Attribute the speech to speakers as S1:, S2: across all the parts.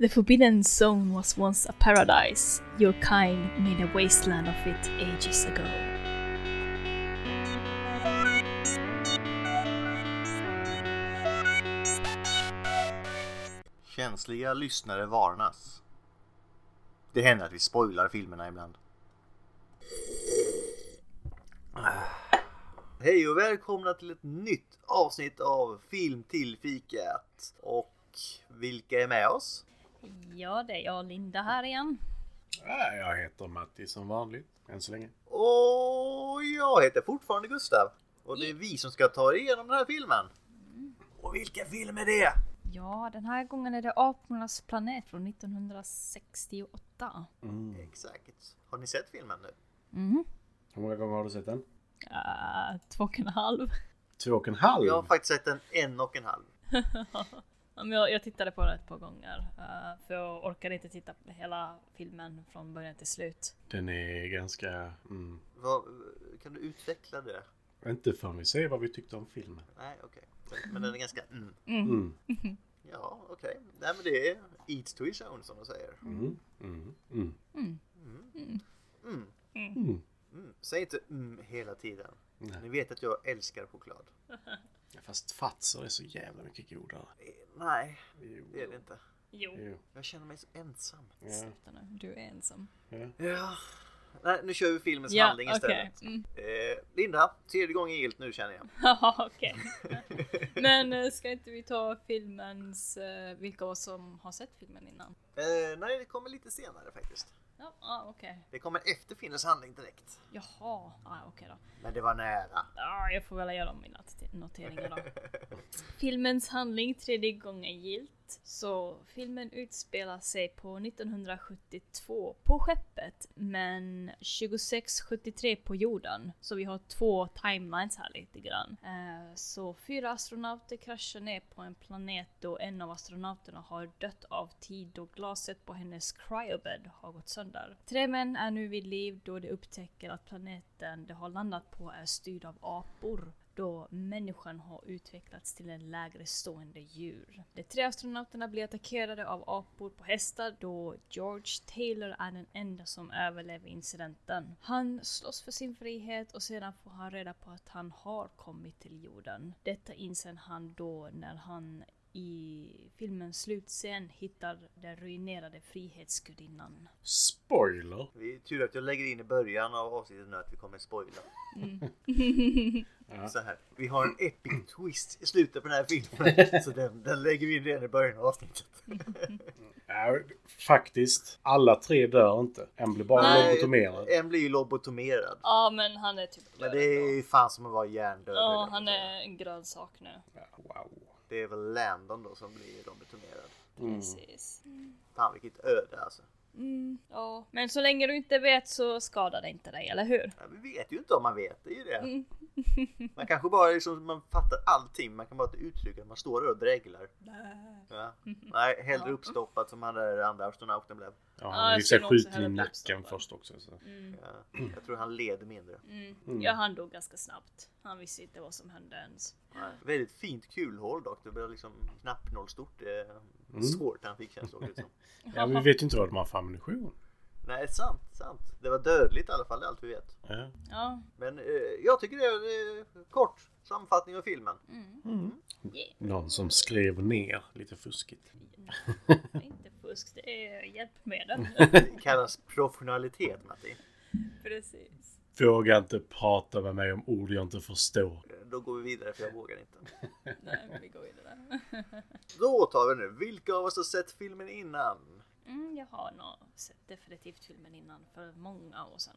S1: The forbidden zone was once a paradise. Your kind made a wasteland of it ages ago.
S2: Känsliga lyssnare varnas. Det händer att vi spoilar filmerna ibland. Hej och välkomna till ett nytt avsnitt av Film till fikat. Och vilka är med oss?
S1: Ja, det är jag Linda här igen.
S3: Ja, Jag heter Matti som vanligt, än så länge.
S2: Och jag heter fortfarande Gustav. Och det är vi som ska ta er igenom den här filmen. Och vilken film är det?
S1: Ja, den här gången är det Apornas planet från 1968.
S2: Exakt. Har ni sett filmen nu?
S1: Mhm.
S3: Hur många gånger har du sett den?
S1: Ah, två och en halv.
S3: Två och en halv?
S2: Jag har faktiskt sett den en och en halv.
S1: Ja, men jag, jag tittade på den ett par gånger. eh, för jag orkade inte titta på hela filmen från början till slut.
S3: Den är ganska... Mm,
S2: Vad, kan du utveckla det?
S3: inte förrän vi ser vad vi tyckte om filmen.
S2: Nej, okej. Men- Men den är ganska... Mm.
S3: Mm.
S2: Ja, okej. Nej, men det är eat to his own som de säger.
S3: Mm. Mm. Mm.
S2: Mm.
S3: Mm.
S2: Mm. Säg inte mm hela tiden.
S3: Nej.
S2: Ni vet att jag älskar choklad.
S3: Fast fatser är så jävla mycket godare.
S2: Eh, Nej,
S3: Jo.
S2: det är det inte.
S1: Jo.
S3: Jo.
S2: Jag känner mig så ensam.
S3: Ja.
S1: Sluta nu, du är ensam.
S3: Ja.
S2: Ja. Nej, nu kör vi filmens handling
S1: okej.
S2: istället.
S1: Mm.
S2: Eh, Linda, tredje gången gillt nu känner jag.
S1: Ja, okej. Men eh, ska inte vi ta filmens, eh, vilka av oss som har sett filmen innan?
S2: Eh, nej, det kommer lite senare faktiskt.
S1: Ja, ah, okej.
S2: Det kommer efter filmens handling direkt.
S1: Jaha, ah, okej då.
S2: Men det var nära.
S1: Ah, jag får väl göra om mina t- noteringar då. Filmens handling tredje gången gilt. Så filmen utspelar sig på 1972 på skeppet men 2673 på jorden. Så vi har två timelines här lite grann. Eh, Så fyra astronauter kraschar ner på en planet då en av astronauterna har dött av tid då glaset på hennes cryobed har gått sönder. Tre män är nu vid liv då de upptäcker att planeten de har landat på är styrd av apor då människan har utvecklats till en lägre stående djur. De tre astronauterna blir attackerade av apor på hästar då George Taylor är den enda som överlever incidenten. Han slåss för sin frihet och sedan får han reda på att han har kommit till jorden. Detta inser han då när han i filmens slutscen hittar den ruinerade frihetsgudinnan.
S3: Spoiler!
S2: Det är tur att jag lägger in i början av avsnittet nu att vi kommer spoila. Så här. Vi har en epic twist i slutet på den här filmen. Så den, den lägger vi in redan i början av avsnittet.
S3: Ja, faktiskt. Alla tre dör inte. En blir bara
S1: Nej.
S3: lobotomerad.
S2: En blir ju lobotomerad.
S1: Ja men han är typ
S2: Men
S1: död
S2: det är ju fan som att vara hjärndöd.
S1: Ja, han är en grönsak nu.
S3: Ja, Wow.
S2: Det är väl Landon då som blir lobotomerad.
S1: Precis.
S2: Fan vilket öde alltså.
S1: Ja, men så länge du inte vet så skadar det inte dig, eller hur?
S2: Ja, vi vet ju inte om man vet, det är ju
S1: Mm.
S2: det. Man kanske bara liksom, man fattar allting, man kan bara inte uttrycka att man står där och dreglar. Ja. Nej, hellre uppstoppat som han där andra astronauten blev.
S3: Ja,
S1: Ja,
S3: han
S1: jag
S3: blev
S1: skulle
S3: så
S1: också
S3: skjuten
S1: hellre Mm.
S3: i
S1: bli
S3: nacken
S1: uppstoppad.
S3: först också. Så.
S2: Ja. Jag tror han led mindre.
S1: Ja, han dog ganska snabbt. Han visste inte vad som hände ens.
S2: Nej. Väldigt fint kulhål dock, det blev liksom knappnålstort. Eh, Svårt han fick känns det också som.
S3: Ja, vi vet ju inte vad de har för ammunition.
S2: Nej, sant, sant. Det var dödligt i alla fall, det är allt vi vet.
S3: Ja.
S1: Ja,
S2: Men eh, jag tycker det är eh, kort sammanfattning av filmen.
S3: Någon som skrev ner lite fuskigt.
S1: det är inte fusk, det är hjälpmedel.
S2: Det kallas professionalitet Matti.
S1: Precis.
S3: Våga inte prata med mig om ord jag inte förstår.
S2: Eh, Då går vi vidare för jag vågar inte.
S1: Nej, vi går vidare.
S2: Då tar vi nu, vilka av oss har sett filmen innan?
S1: Mm, jag har nog sett definitivt filmen innan, för många år sedan.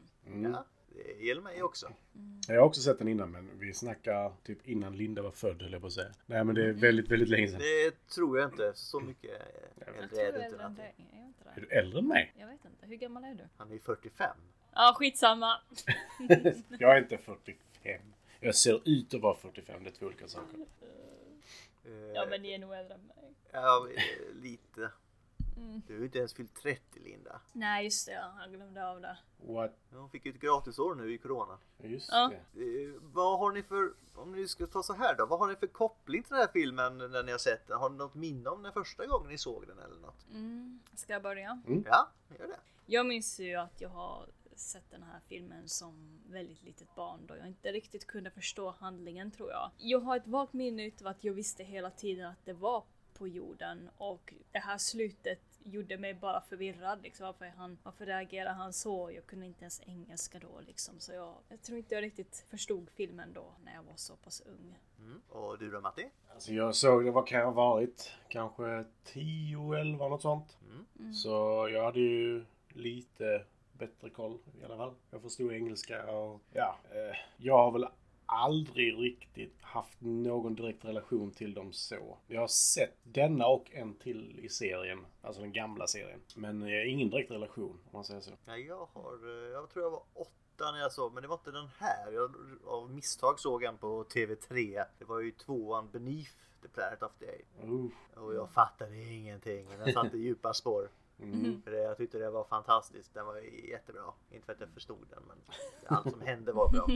S2: Ja, det gäller mig också.
S3: Jag har också sett den innan, men vi snackar typ innan Linda var född, höll jag på att säga. Nej, men det är väldigt, väldigt länge sedan.
S2: Det tror jag inte, så mycket eh, äldre är du inte
S1: än
S2: Matti.
S1: dig. Är jag inte
S3: Är
S1: det?
S3: du äldre än mig?
S1: Jag vet inte, hur gammal är du?
S2: Han är ju 45.
S1: Ja, skitsamma.
S3: Jag är inte 45. Jag ser ut att vara 45, det är två olika saker.
S2: Eh,
S1: Ja, men ni är nog äldre än mig.
S2: ja, eh, lite. Du har ju inte ens fyllt 30 Linda.
S1: Nej, just det. ja, Jag glömde av det.
S3: What?
S2: Hon fick ju ett gratisår nu i Corona.
S3: Just
S1: Ja.
S3: det.
S2: Eh, vad har ni för, om ni ska ta så här då, vad har ni för koppling till den här filmen när ni har sett den? Har ni något minne om den första gången ni såg den eller något?
S1: Mm. Ska jag börja?
S2: Ja, gör det.
S1: Jag minns ju att jag har sett den här filmen som väldigt litet barn då jag inte riktigt kunde förstå handlingen tror jag. Jag har ett vagt minne utav att jag visste hela tiden att det var på jorden och det här slutet gjorde mig bara förvirrad liksom. Varför, är han, varför reagerar han så? Jag kunde inte ens engelska då liksom så jag, jag tror inte jag riktigt förstod filmen då när jag var så pass ung.
S2: Mm. Och du då Matti?
S3: Alltså jag såg det, vad kan jag ha varit? Kanske 10, 11 något sånt.
S2: Mm.
S3: Så jag hade ju lite bättre koll i alla fall. Jag förstod engelska och ja, eh, jag har väl aldrig riktigt haft någon direkt relation till dem så. Jag har sett denna och en till i serien, alltså den gamla serien. Men eh, ingen direkt relation om man säger så.
S2: Ja, jag har, eh, jag tror jag var åtta när jag såg, men det var inte den här. Jag, av misstag såg jag den på TV3. Det var ju tvåan Beneath the Planet of the Apes.
S3: Uh,
S2: Och jag fattade ingenting. men Den satte djupa spår. För det, jag tyckte det var fantastiskt. Den var jättebra. Inte för att jag förstod den men allt som hände var bra.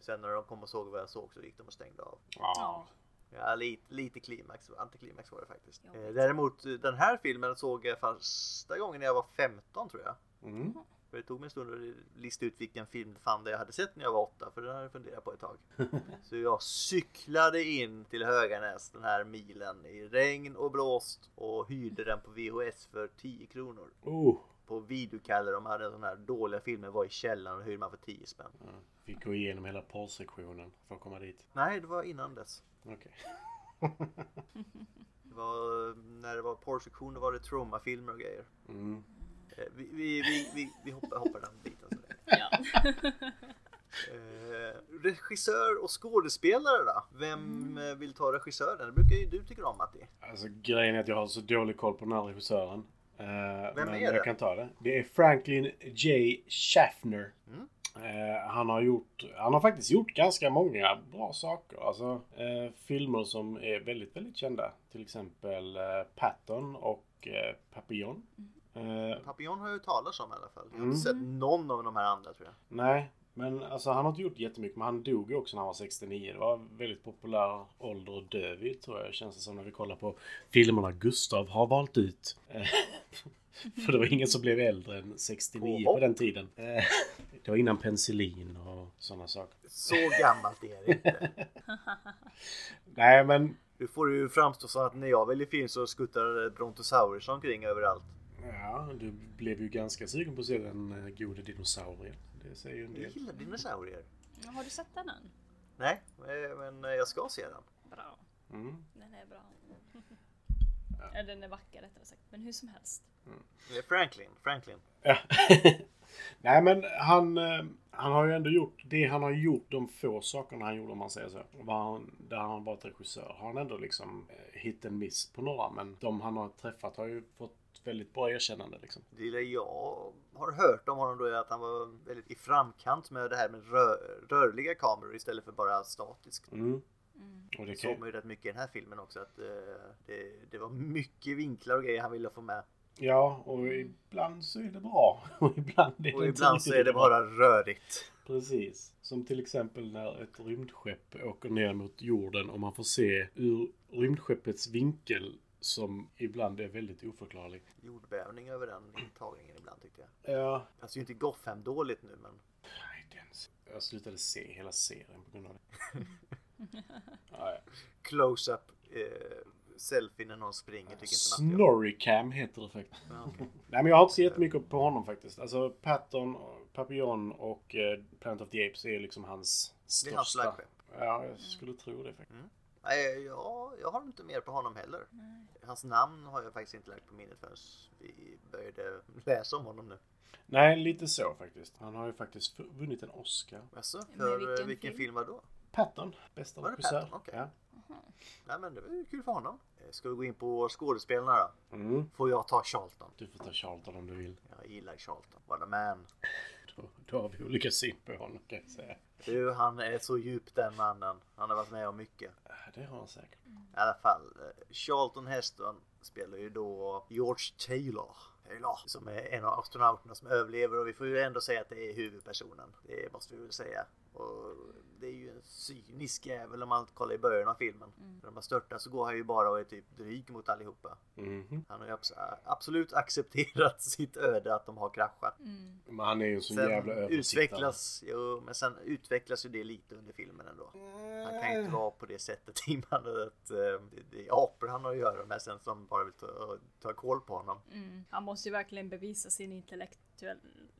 S2: Sen när de kom och såg vad jag såg så gick de och stängde av.
S3: ja.
S2: Ja, lite, lite klimax, antiklimax var det faktiskt.
S1: Ja.
S2: Eh, Däremot den här filmen såg jag första gången när jag var 15 tror jag.
S3: Mm.
S2: För det tog mig en stund att lista ut vilken film fan det jag hade sett när jag var åtta, för den hade jag funderat på ett tag. Så jag cyklade in till Höganäs den här milen i regn och blåst och hyrde den på VHS för 10 kronor.
S3: Oh,
S2: På videokaller, de hade sådana här dåliga filmer, var i källaren och hyrde man för 10 spänn.
S3: fick gå igenom hela porrsektionen för att komma dit.
S2: Nej, det var innan dess.
S3: Okej.
S2: Det var, eh, när det var porrsektion då var det traumafilmer och grejer.
S3: Mm.
S2: Eh, Vi, vi, vi, vi, vi hoppar, hoppar den biten. Så.
S1: Ja.
S2: Eh, regissör och skådespelare då? Vem eh, vill ta regissören? Det brukar ju du tycka om Matti.
S3: Alltså grejen är att jag har så dålig koll på den här regissören. Eh, men
S2: är
S3: jag
S2: det?
S3: kan ta det. Det är Franklin J. Schaffner.
S2: Mm.
S3: Eh, han, har gjort, han har faktiskt gjort ganska många bra saker. Alltså eh, filmer som är väldigt, väldigt kända. Till exempel eh, Patton och eh, Papillon. Eh,
S2: Papillon har jag ju talat om i alla fall. Jag har
S3: Mm.
S2: inte sett någon av de här andra tror jag.
S3: Nej, men alltså han har inte gjort jättemycket. Men han dog ju också när han var 69. Det var en väldigt populär ålder att dö vid tror jag. Känns det som när vi kollar på filmerna Gustav har valt ut. Eh, För det var ingen som blev äldre än 69 på
S2: Påhopp.
S3: den tiden. Eh, Det var innan penicillin och sådana saker.
S2: Så gammalt är det inte.
S3: Nej, men...
S2: Du får ju framstå så att när jag väljer film så skuttar Brontosaurus omkring överallt.
S3: Ja, du blev ju ganska sugen på att se den eh, gode dinosaurien. Det säger ju en
S2: Jag
S3: del.
S2: gillar dinosaurier.
S1: Har du sett den än?
S2: Nej, eh, men eh, jag ska se den.
S1: Bra.
S3: Mm.
S1: Den är bra. Ja, den är vacker rättare sagt. Men hur som helst.
S2: Eh, Franklin, Franklin.
S3: Ja. Nej men han, eh, han har ju ändå gjort det han har gjort, de få sakerna han gjorde om man säger så. Var han, där han har varit regissör har han ändå liksom eh, hit and miss på några. Men de han har träffat har ju fått väldigt bra erkännande liksom.
S2: Det lilla jag har hört om honom då är att han var väldigt i framkant med det här med rö- rörliga kameror istället för bara statiskt.
S3: Mm. Och det kan,
S2: såg man ju rätt mycket i den här filmen också att eh, det, det var mycket vinklar och grejer han ville få med.
S3: ja, och ibland så är det bra. Och ibland är
S2: Mm. Och
S3: det
S2: ibland
S3: inte
S2: så är det
S3: riktigt
S2: bara rörigt.
S3: Precis. Som till exempel när ett rymdskepp åker ner mot jorden och man får se ur rymdskeppets vinkel som ibland är väldigt oförklarlig.
S2: Jordbävning över den intagningen ibland tyckte jag.
S3: Ja,
S2: Alltså ju inte Gotham dåligt nu men
S3: Nej, den... s- Jag slutade se hela serien på grund av det. ja, ja.
S2: close-up eh, selfie när någon springer tycker inte Matti om.
S3: Snorricam heter det faktiskt.
S2: Ja, okej.
S3: Nej, men jag har inte så jättemycket på honom faktiskt. Alltså Patton, Papillon och eh, Planet of the Apes är ju liksom hans
S2: Det är hans
S3: största...
S2: flaggskepp. Mm.
S3: ja, jag skulle tro det faktiskt.
S2: Nej, ja, jag har inte mer på honom heller. Hans namn har jag faktiskt inte lagt på minnet förrän vi började läsa om honom nu.
S3: Nej, lite så faktiskt. Han har ju faktiskt fu- vunnit en Oscar.
S2: Alltså,
S1: Men
S2: för eh,
S1: vilken
S2: vilken,
S1: film?
S2: film var det då?
S3: Patton, bästa
S2: Var det
S3: regissör.
S2: Patton? Okej.
S3: Ja.
S2: Nej men det var ju kul för honom. Eh, Ska vi gå in på skådespelarna då?
S3: Mm.
S2: Får jag ta Charlton?
S3: Du får ta Charlton om du vill.
S2: Jag gillar Charlton. What a man.
S3: Då, då har vi olika syn på honom kan jag säga.
S2: Du, han är så djup den mannen. Han har varit med om mycket.
S3: Ja, Det har han säkert.
S2: I alla fall, eh, Charlton Heston spelar ju då George Taylor. Taylor, som är en av astronauterna som överlever och vi får ju ändå säga att det är huvudpersonen. Det måste vi väl säga. Och det är ju en cynisk jävel om man kollar i början av filmen. När man störtar så går han ju bara och är typ dryg mot allihopa.
S3: Mhm.
S2: Han har ju abs- absolut accepterat sitt öde att de har kraschat.
S3: Men han är ju en sån jävla
S2: Sen
S3: översittare.
S2: utvecklas, jo, men sen utvecklas ju det lite under filmen ändå. Han kan ju inte vara på det sättet innan att eh, det, det är apor han har att göra med sen som bara vill ta, ta koll på honom.
S1: Han måste ju verkligen bevisa sin intellektuell,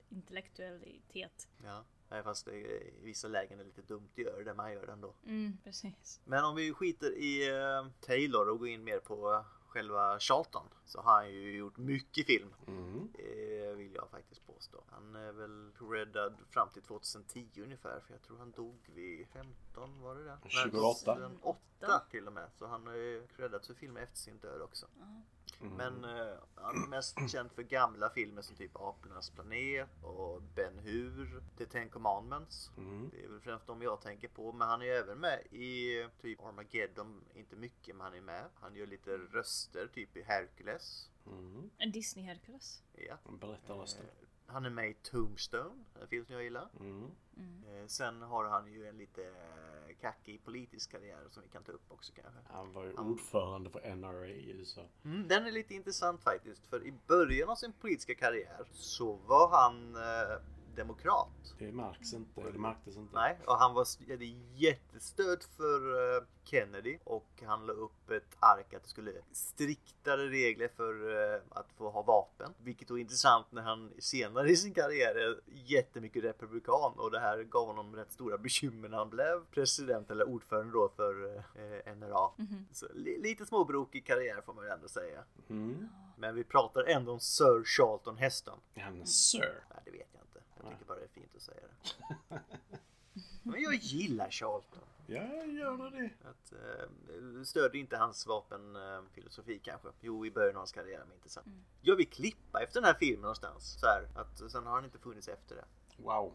S1: intellektualitet.
S2: Ja. Även fast det är- i vissa lägen är lite dumt att göra det, men han gör det ändå.
S1: Mm, precis.
S2: Men om vi skiter i eh, Taylor och går in mer på eh, själva Charlton så har han ju gjort mycket film.
S3: Mhm.
S2: Eh, vill jag faktiskt påstå. Han är väl räddad fram till 2010 ungefär. För jag tror han dog vid 15, var det det?
S3: 28.
S2: 8 till och med. Så han har ju räddats för filmer efter sin död också.
S3: Mhm. Mm.
S2: Men eh, han är mest känd för gamla filmer som typ Apornas planet och Ben Hur. The Ten Commandments.
S3: Mm,
S2: Det är väl främst de jag tänker på. Men han är ju även med i eh, typ Armageddon. Inte mycket men han är med. Han gör lite röster typ i Hercules.
S3: Mhm.
S1: En Disney-Herkules.
S2: Ja.
S3: Berättarrösten.
S2: Han är med i Tombstone, en film som jag gillar.
S3: Mm.
S2: Eh, Sen har han ju en lite eh, kackig politisk karriär som vi kan ta upp också kanske.
S3: Han var ju ordförande för NRA i USA.
S2: Mm, den är lite intressant faktiskt, för i början av sin politiska karriär så var han eh, demokrat.
S3: Det märks inte. Det märktes inte.
S2: Nej, och han var, st- hade jättestöd för eh, Kennedy och han la upp ett ark att det skulle striktare regler för eh, att få ha vapen. Vilket då är intressant när han senare i sin karriär är jättemycket republikan och det här gav honom rätt stora bekymmer när han blev president eller ordförande då för eh, NRA. Så li- lite småbrokig karriär får man ju ändå säga.
S3: Mm.
S2: Men vi pratar ändå om Sir Charlton Heston.
S3: Han är Sir.
S2: Nej, det vet jag inte. Jag tycker bara det är fint att säga det. Men jag gillar Charlton.
S3: Ja, gör du det?
S2: Att, eh, stödde inte hans vapenfilosofi kanske. Jo, i början av hans karriär, men inte sen. Jag vill klippa efter den här filmen någonstans. Så här, att, sen har han inte funnits efter det.
S3: Wow.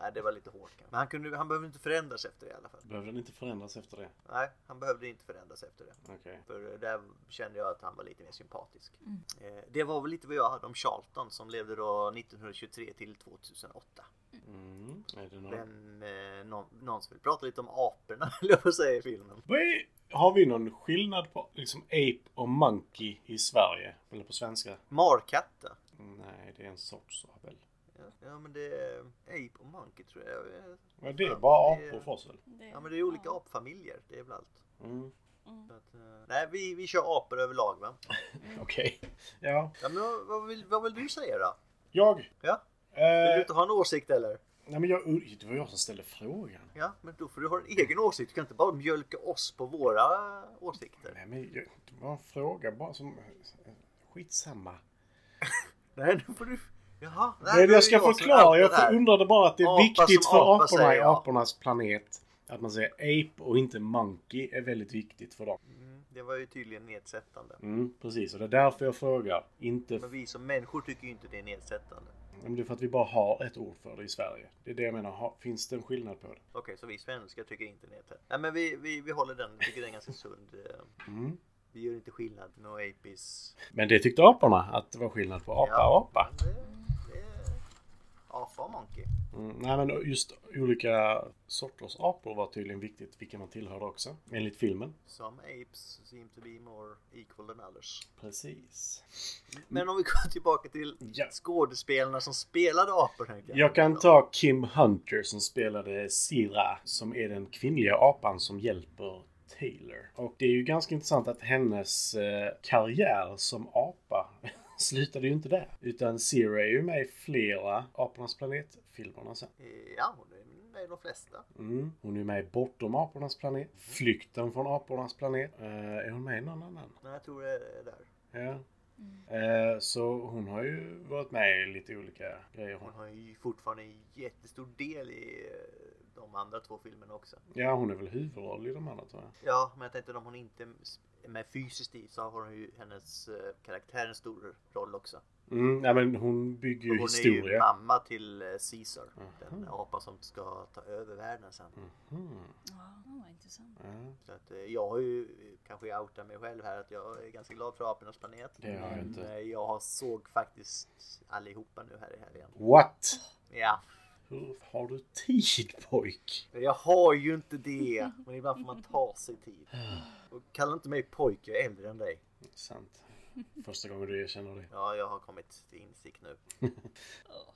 S2: Nej, det var lite hårt kanske. Men han, kunde, han behövde inte förändras efter det i alla fall.
S3: Behövde den inte förändras efter det?
S2: Nej, han behövde inte förändras efter det.
S3: Okej.
S2: För eh, där kände jag att han var lite mer sympatisk. Eh, det var väl lite vad jag hade om Charlton som levde då 1923 till 2008.
S3: Mm. Är det någon...
S2: Vem, eh, någon, någon som vill prata lite om aporna, höll jag på att säga i filmen.
S3: Vad är... Har vi någon skillnad på liksom ape och monkey i Sverige? Eller på svenska?
S2: Markatter.
S3: Nej, det är en sorts väl.
S2: Ja, ja men det är Ape och Monkey tror jag. Eh,
S3: Ja, det är bara
S2: det är-
S3: apor för oss väl?
S1: Det,
S2: Ja men det är olika apfamiljer, det är väl allt.
S3: Mm.
S2: Så att, eh, nej vi, vi kör apor överlag va?
S3: Okej. Ja.
S2: Ja, men vad- vad, vill, vad vill du säga då?
S3: Jag.
S2: Ja? Vill du
S3: Eh,
S2: inte ha en åsikt eller?
S3: nej, men jag, det var jag som ställde frågan.
S2: Ja men då får du ha en egen åsikt, du kan inte bara mjölka oss på våra åsikter.
S3: Nej, men jag, det var en fråga bara som... Skitsamma.
S2: Nej nu får du... Jaha.
S3: Nej,
S2: nu
S3: jag
S2: är
S3: ska
S2: som
S3: förklara.
S2: är
S3: Jag
S2: det här.
S3: undrade bara att det är
S2: Apa
S3: viktigt
S2: som
S3: för
S2: apa,
S3: aporna
S2: säger
S3: i
S2: jag.
S3: apornas planet. Att man säger ape och inte monkey är väldigt viktigt för dem.
S2: Mm, Det var ju tydligen nedsättande.
S3: Mm, precis, och det är därför jag frågar. Inte...
S2: Men vi som människor tycker ju inte det är nedsättande.
S3: Men det är för att vi bara har ett ord för det i Sverige. Det är det jag menar. Har- Finns det en skillnad på det?
S2: Okej, så vi svenskar tycker inte nedsättande. Nej men vi, vi, vi håller den, vi tycker den är ganska sund. eh,
S3: Mm.
S2: Vi gör inte skillnad. No apis.
S3: Men det tyckte aporna, att det var skillnad på apa
S2: Ja.
S3: och apa.
S2: Det är- Apa och Monkey.
S3: Mm, nej, men just olika sorters apor var tydligen viktigt, vilka man tillhörde också. Enligt filmen.
S2: Some apes seem to be more equal than others.
S3: Precis.
S2: Men om vi går tillbaka till
S3: Ja.
S2: skådespelarna som spelade apor. tänkte
S3: Jag kan ta Kim Hunter som spelade Sira som är den kvinnliga apan som hjälper Taylor. Och det är ju ganska intressant att hennes eh, karriär som apa slutade ju inte där. Utan Sira är ju med i flera Apornas planet-filmerna sen.
S2: Eh, Ja, hon är med i de flesta.
S3: Mm. Hon är med i Bortom Apornas planet, Flykten från Apornas planet. Eh, är hon med i någon annan?
S2: Nej, jag tror det är där.
S3: Ja. Eh, så hon har ju varit med i lite olika grejer.
S2: Hon har ju fortfarande en jättestor del i eh, de andra två filmerna också.
S3: Ja, hon är väl huvudroll i de andra tror jag.
S2: Ja, men jag tänkte om hon inte är med fysiskt i så har hon ju hennes eh, karaktär en stor roll också.
S3: Mm, ja, men hon bygger ju
S2: Hon är ju
S3: historia.
S2: mamma till eh, Caesar. Den apa som ska ta över världen sen.
S3: Mhm.
S1: Ja, vad intressant.
S3: Ja,
S2: Så att, eh, jag har ju, eh, kanske jag outar mig själv här, att jag är ganska glad för Apornas planet.
S3: Det har jag
S2: Men,
S3: inte.
S2: eh, Jag har såg faktiskt allihopa nu här i helgen.
S3: What?
S2: Ja,
S3: Hur har du tid pojk?
S2: men jag har ju inte det. Men ibland får man ta sig tid. Och kalla inte mig pojke, jag är äldre än dig.
S3: Sant. Första gången du erkänner det.
S2: Ja, jag har kommit till insikt nu.
S1: Åh,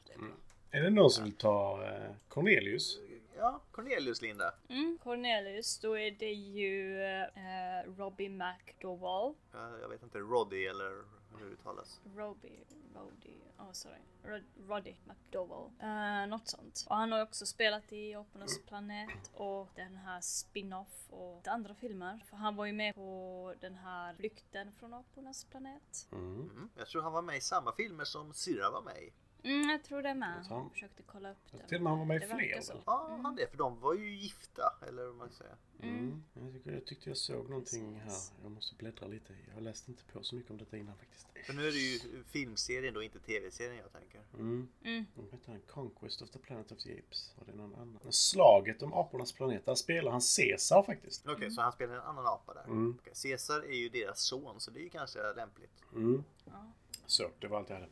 S1: det är bra.
S3: Är det någon som vill ta eh, Cornelius?
S2: Ja, Cornelius Linda.
S1: Mm. Cornelius, då är det ju eh, Robbie McDowell.
S2: Ja, Eh, Jag vet inte, Roddy eller hur det uttalas.
S1: Robbie, Roddy, oh sorry. Rod, Roddy McDowell. Eh, något sånt. Och han har också spelat i Apornas planet och den här spin-off och lite andra filmer. För han var ju med på den här flykten från Apornas planet.
S3: Mm.
S2: Mm. Jag tror han var med i samma filmer som syrran var med i.
S1: Mm, jag tror det med.
S3: Jag tror han-
S1: Jag försökte kolla upp
S3: Jag
S1: det.
S3: till och med han var med i
S1: Det verkar
S3: fler.
S1: så.
S3: väl?
S2: Ja, han det. För de var ju gifta, eller vad man ska säga.
S3: Mm. Jag, tycker, jag tyckte jag såg någonting här.
S1: Precis.
S3: Jag måste bläddra lite. Jag läste inte på så mycket om detta innan faktiskt.
S2: För nu är det ju filmserien då, inte tv-serien jag tänker.
S3: Mm.
S1: Mm.
S3: Vad heter han? Conquest of the Planet of the Apes? Var det någon annan? Men Slaget om apornas planet. Där spelar han Caesar faktiskt.
S2: Okej,
S1: Mm.
S2: så han spelar en annan apa där.
S3: Mm.
S2: Okej, Caesar är ju deras son, så det är ju kanske lämpligt.
S3: Mm.
S1: Ja.
S3: Så, det var allt jag hade.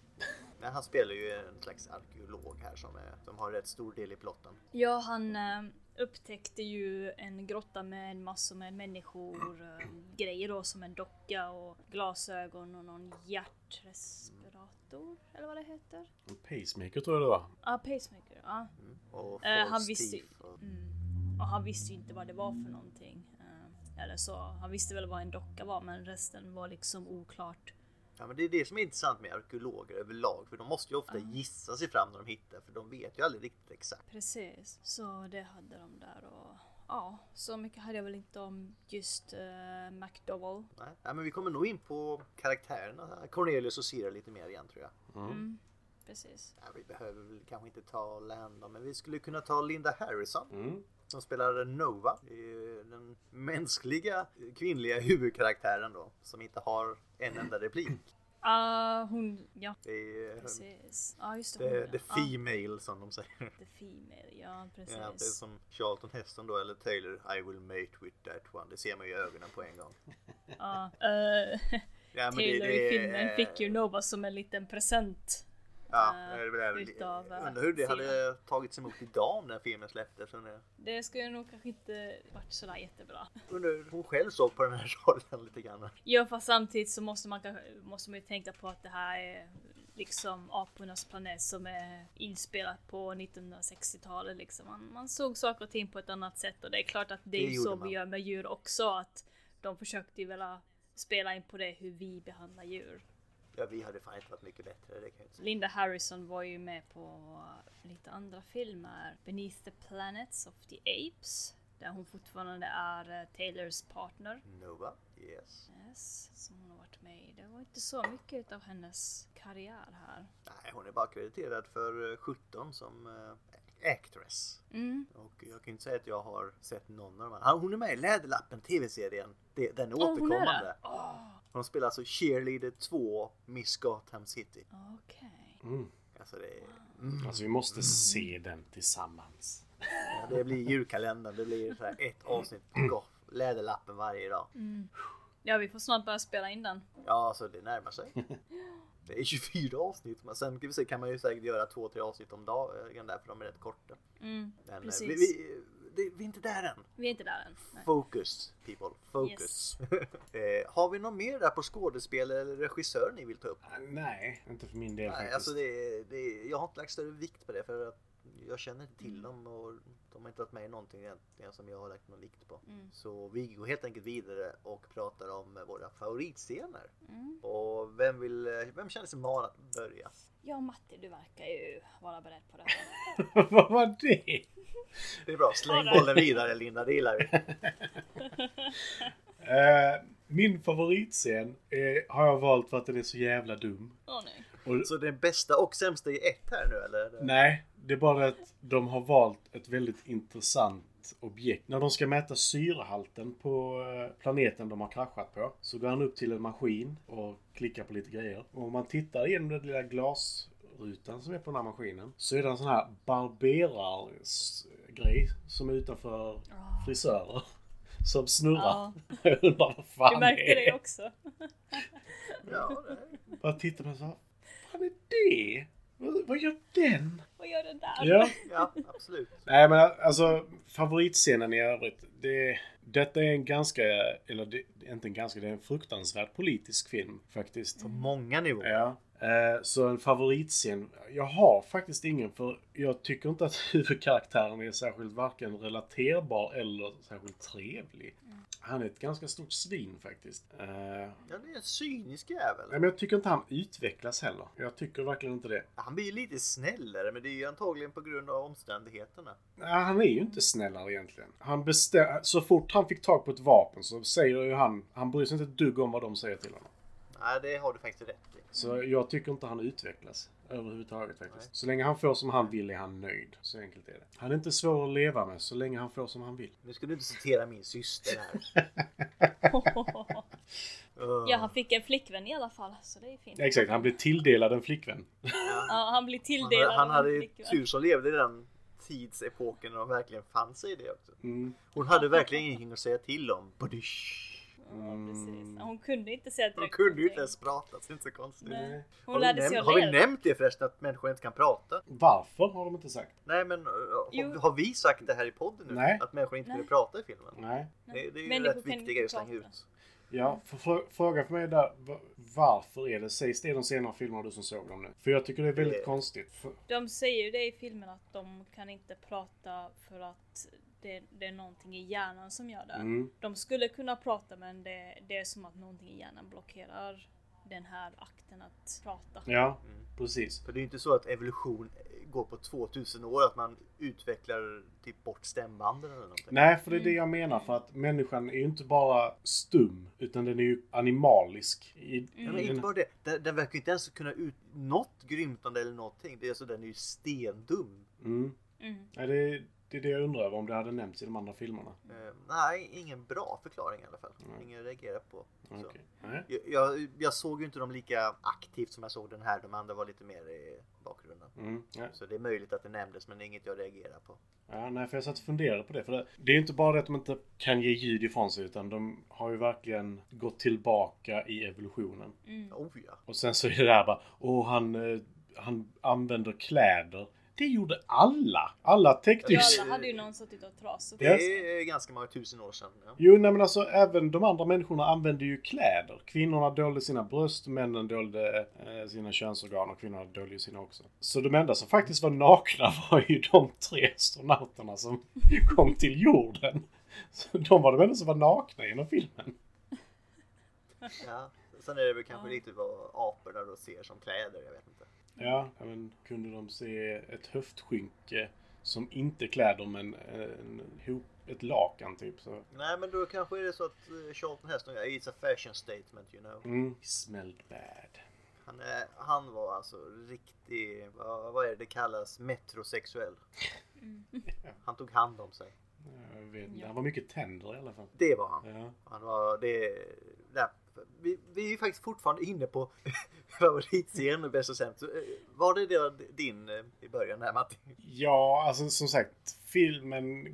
S2: Men han spelar ju en slags arkeolog här som, är, som har rätt stor del i plotten.
S1: Ja, han eh, upptäckte ju en grotta med massor med människor, eh, grejer då som en docka och glasögon och någon hjärtrespirator eller vad det heter.
S3: En pacemaker tror jag det var.
S1: Ja, ah, pacemaker. Ja.
S2: Och
S1: Eh,
S2: False
S1: han visste ju-
S2: Thief och-
S1: Mm. Och han visste ju inte vad det var för någonting. Eh, eller så, han visste väl vad en docka var men resten var liksom oklart.
S2: Ja, men det är det som är intressant med arkeologer överlag, för de måste ju ofta gissa sig fram när de hittar, för de vet ju aldrig riktigt exakt.
S1: Precis, så det hade de där och ja, så mycket hade jag väl inte om just eh, McDowell.
S2: Nej. Ja, men vi kommer nog in på karaktärerna, här. Cornelius och Sira lite mer igen tror jag.
S1: Mm. Precis.
S2: Ja, vi behöver väl kanske inte ta Landon, men vi skulle kunna ta Linda Harrison.
S3: Mm.
S2: Som spelar Nova. Det är ju Den mänskliga eh, kvinnliga huvudkaraktären då. Som inte har en enda replik.
S1: Ah, hon, ja
S2: Det är eh,
S1: Precis. Ja, just det.
S2: the,
S1: hon,
S2: the
S1: ja.
S2: female som de säger.
S1: Ah, the female, ja
S2: Ja, det är
S1: precis.
S2: som Charlton Heston då eller Taylor. I will mate with that one. Det ser man ju i ögonen på en gång.
S1: Ja, eh,
S2: Ja, men
S1: Taylor i filmen
S2: eh,
S1: fick ju Nova som en liten present.
S2: Ja,
S1: eh,
S2: det är väl-
S1: utav, eh,
S2: undrar hur det hade tagits emot idag om den filmen släpptes. Undrar
S1: Det skulle nog kanske inte varit sådär jättebra.
S2: undrar hur hon själv såg på den här rollen lite grann.
S1: Ja, fast samtidigt så måste man, kanske- måste man ju tänka på att det här är liksom apornas planet som är inspelat på 1960-talet liksom. Man, man såg saker och ting på ett annat sätt och det är klart att det
S2: Det
S1: är ju
S2: gjorde
S1: så
S2: man.
S1: vi gör med djur också att de försökte ju väl eh, spela in på det hur vi behandlar djur.
S2: Ja, vi hade fan inte varit mycket bättre. Det kan jag inte säga.
S1: Linda Harrison var ju med på lite andra filmer. Beneath the Planets of the Apes. Där hon fortfarande är eh, Taylors partner.
S2: Nova, yes.
S1: Yes, som hon har varit med i. Det var inte så mycket av hennes karriär här.
S2: Nej, hon är bara krediterad för eh, 17 som eh, actress.
S1: Mm.
S2: Och jag kan inte säga att jag har sett någon av dem. Han- Hon är med i Läderlappen tv-serien. Det- Den är
S1: Åh, hon är
S2: återkommande.
S1: där! Åh,
S2: Hon spelar alltså Cheerleader 2, Miss Gotham City.
S1: Okej.
S3: Mm.
S2: Alltså det, mm,
S3: Alltså vi måste se den tillsammans.
S2: det blir julkalendern. Det blir så här ett avsnitt på Goth. Läderlappen varje dag.
S1: Ja, vi får snart börja spela in den.
S2: Ja, alltså det närmar sig. Det är 24 avsnitt. Men sen kan vi se, kan man ju säkert göra två, tre avsnitt om dagen där, för de är rätt korta.
S1: Mm.
S2: Men eh,
S1: Precis.
S2: vi, vi, det, vi är inte där än.
S1: Vi är inte där än. Nej.
S2: Focus people, focus. eh, har vi något mer där på skådespel eller regissör ni vill ta upp?
S3: Ah, Nej, inte för min del
S2: Nej,
S3: faktiskt.
S2: alltså det, är- det, är- jag har inte lagt större vikt på det för att jag känner inte
S1: Mm.
S2: till dem och de har inte varit med i någonting egentligen som jag har lagt någon vikt på.
S1: Mm.
S2: Så vi går helt enkelt vidare och pratar om våra favoritscener.
S1: Mm.
S2: Och vem, vill, vem känner sig manad att börja?
S1: Ja, Matti, du verkar ju vara beredd på det här.
S3: Vad var det?
S2: Det är bra, släng
S1: Ja, det-
S2: bollen vidare Linda, det gillar vi.
S3: Eh, min favoritscen eh, har jag valt för att den är så jävla dum.
S1: Åh nej.
S3: Och,
S2: Så den bästa och sämsta i ett här nu eller?
S3: Nej, Det är bara det att de har valt ett väldigt intressant objekt. När de ska mäta syrehalten på eh, planeten de har kraschat på så går han upp till en maskin och klickar på lite grejer. Och om man tittar igenom den lilla glasrutan som är på den här maskinen så är det en sån här barberargrej som är utanför
S1: Ah.
S3: frisörer. Som snurrar.
S1: Ja,
S3: Jag undrar vad fan
S1: du märkte
S3: det
S1: det
S3: är.
S1: också.
S2: Ja, det-
S3: Jag tittar på den så här. Vad fan är det? Vad, vad gör den?
S1: Vad gör den där?
S3: Ja.
S2: ja absolut.
S3: Nej men alltså favoritscenen i övrigt. Det, detta är en ganska, eller det, inte en ganska, det är en fruktansvärd politisk film faktiskt.
S2: På många nivåer.
S3: Ja. Eh, Så en favoritscen. Jag har faktiskt ingen för jag tycker inte att huvudkaraktären är särskilt varken relaterbar eller särskilt trevlig. Han är ett ganska stort svin faktiskt. Eh,
S2: Ja, det är en cynisk jävel.
S3: Nej men jag tycker inte han utvecklas heller. Jag tycker verkligen inte det.
S2: Han blir ju lite snällare, men det är ju antagligen på grund av omständigheterna.
S3: Nej, han är ju inte snällare egentligen. Han bestä- så fort han fick tag på ett vapen så säger ju han, han bryr sig inte ett dugg om vad de säger till honom.
S2: Nej, det har du faktiskt rätt i.
S3: Så jag tycker inte han utvecklas överhuvudtaget faktiskt.
S2: Mm. Nej.
S3: Så länge han får som han vill är han nöjd. Så enkelt är det. Han är inte svår att leva med så länge han får som han vill.
S2: Nu ska du inte citera min syster här. Öh,
S1: Ja, han fick en flickvän i alla fall, så det är fint.
S3: Exakt, han blir tilldelad en flickvän.
S1: Ja, han blir
S2: han,
S1: tilldelad
S2: han
S1: av en
S2: hade ju
S1: flickvän.
S2: tur som levde i den tidsepoken när de verkligen fann sig i det också.
S3: Mm.
S2: Hon hade verkligen ingenting att säga till om. Badysch.
S1: Ja, precis. Hon kunde inte säga
S2: De
S1: direkt
S2: kunde ju inte
S1: någonting.
S2: ens prata, så det är inte så konstigt.
S1: Nej.
S2: Har
S1: Hon
S2: vi,
S1: lärde
S2: näm-
S1: sig att
S2: har vi
S1: leva.
S2: nämnt det förresten att människor inte kan prata?
S3: Varför har de inte sagt?
S2: Nej men eh, har,
S1: Jo.
S2: har vi sagt det här i podden nu?
S3: Nej.
S2: Att människor inte
S1: Nej.
S2: kunde prata i filmen?
S3: Nej.
S2: Det, det är ju
S1: Människor
S2: rätt
S1: kan
S2: viktiga
S1: inte
S2: grejer att slänga
S1: prata.
S2: ut.
S3: Ja, för frå- fråga för mig där. va- Varför är det? Sägs det i de senare filmerna du som såg dem nu? För jag tycker det är väldigt
S2: Det-
S3: konstigt. För,
S1: De säger ju det i filmen att de kan inte prata för att det, det är någonting i hjärnan som gör det.
S3: mm.
S1: De skulle kunna prata men det, det är som att någonting i hjärnan blockerar den här akten att prata.
S3: Ja,
S2: Mm.
S3: precis.
S2: För det är ju inte så att evolution eh, går på 2000 år, att man utvecklar typ bort stämbanden eller någonting.
S3: Nej, för det
S1: Mm.
S3: är det jag menar. För att människan är ju inte bara stum, utan den är ju animalisk. I,
S2: Ja,
S1: Mm.
S2: men
S3: i
S2: inte
S3: den,
S2: bara det. Den, den verkar ju inte ens kunna ut något grymtande eller någonting. Det är alltså, den är ju stendum.
S3: mm.
S1: Mm.
S3: Nej, det, det är det jag undrar över, om det hade nämnts i de andra filmerna.
S2: Eh, nej, ingen bra förklaring i alla fall.
S3: Nej.
S2: Ingen reagerar på. Så.
S3: Okej. Nej.
S2: Jag, jag, jag såg ju inte dem lika aktivt som jag såg den här. De andra var lite mer i bakgrunden.
S3: Mm. Nej.
S2: Så det är möjligt att det nämndes men det är inget jag reagerar på.
S3: Ja, nej, för jag satt och funderade på det. För det, det är ju inte bara det att de inte kan ge ljud ifrån sig, utan de har ju verkligen gått tillbaka i evolutionen.
S1: Mm.
S2: Oh ja!
S3: Och sen så är det där bara, åh han, eh, han använder kläder. Det gjorde alla! Alla täckte ju...
S1: Ja,
S2: Det-
S1: alla hade ju någon suttit och trasat
S2: Det
S1: på sig.
S2: är ganska många tusen år sedan. Ja.
S3: Jo, nej men alltså även de andra människorna använde ju kläder. Kvinnorna dolde sina bröst, männen dolde eh, sina könsorgan och kvinnorna dolde ju sina också. Så de enda som faktiskt var nakna var ju de tre astronauterna som kom till jorden. Så de var de enda som var nakna genom filmen.
S2: Ja. Sen är det väl kanske
S1: Ja.
S2: lite vad aporna då ser som kläder, jag vet inte.
S3: Ja, ja, men kunde de se ett höftskynke som inte kläder men eh, en, hop, ett lakan typ så.
S2: Nej men då kanske är det så att eh, Charlton Heston, it's a fashion statement you know.
S3: Mm. Smelled bad.
S2: Han, är, han var alltså riktig, vad, vad är det det kallas, metrosexuell.
S1: Mm.
S2: Han tog hand om sig.
S3: Jag vet inte,
S1: Ja.
S3: han var mycket tänder i alla fall.
S2: Det var han.
S3: Ja.
S2: Han var det... där. Vi, vi är ju faktiskt fortfarande inne på favoritscenen och bäst och sämst. Så, eh, Var det då din eh, i början här Matti?
S3: Ja, alltså som sagt, filmen... eh,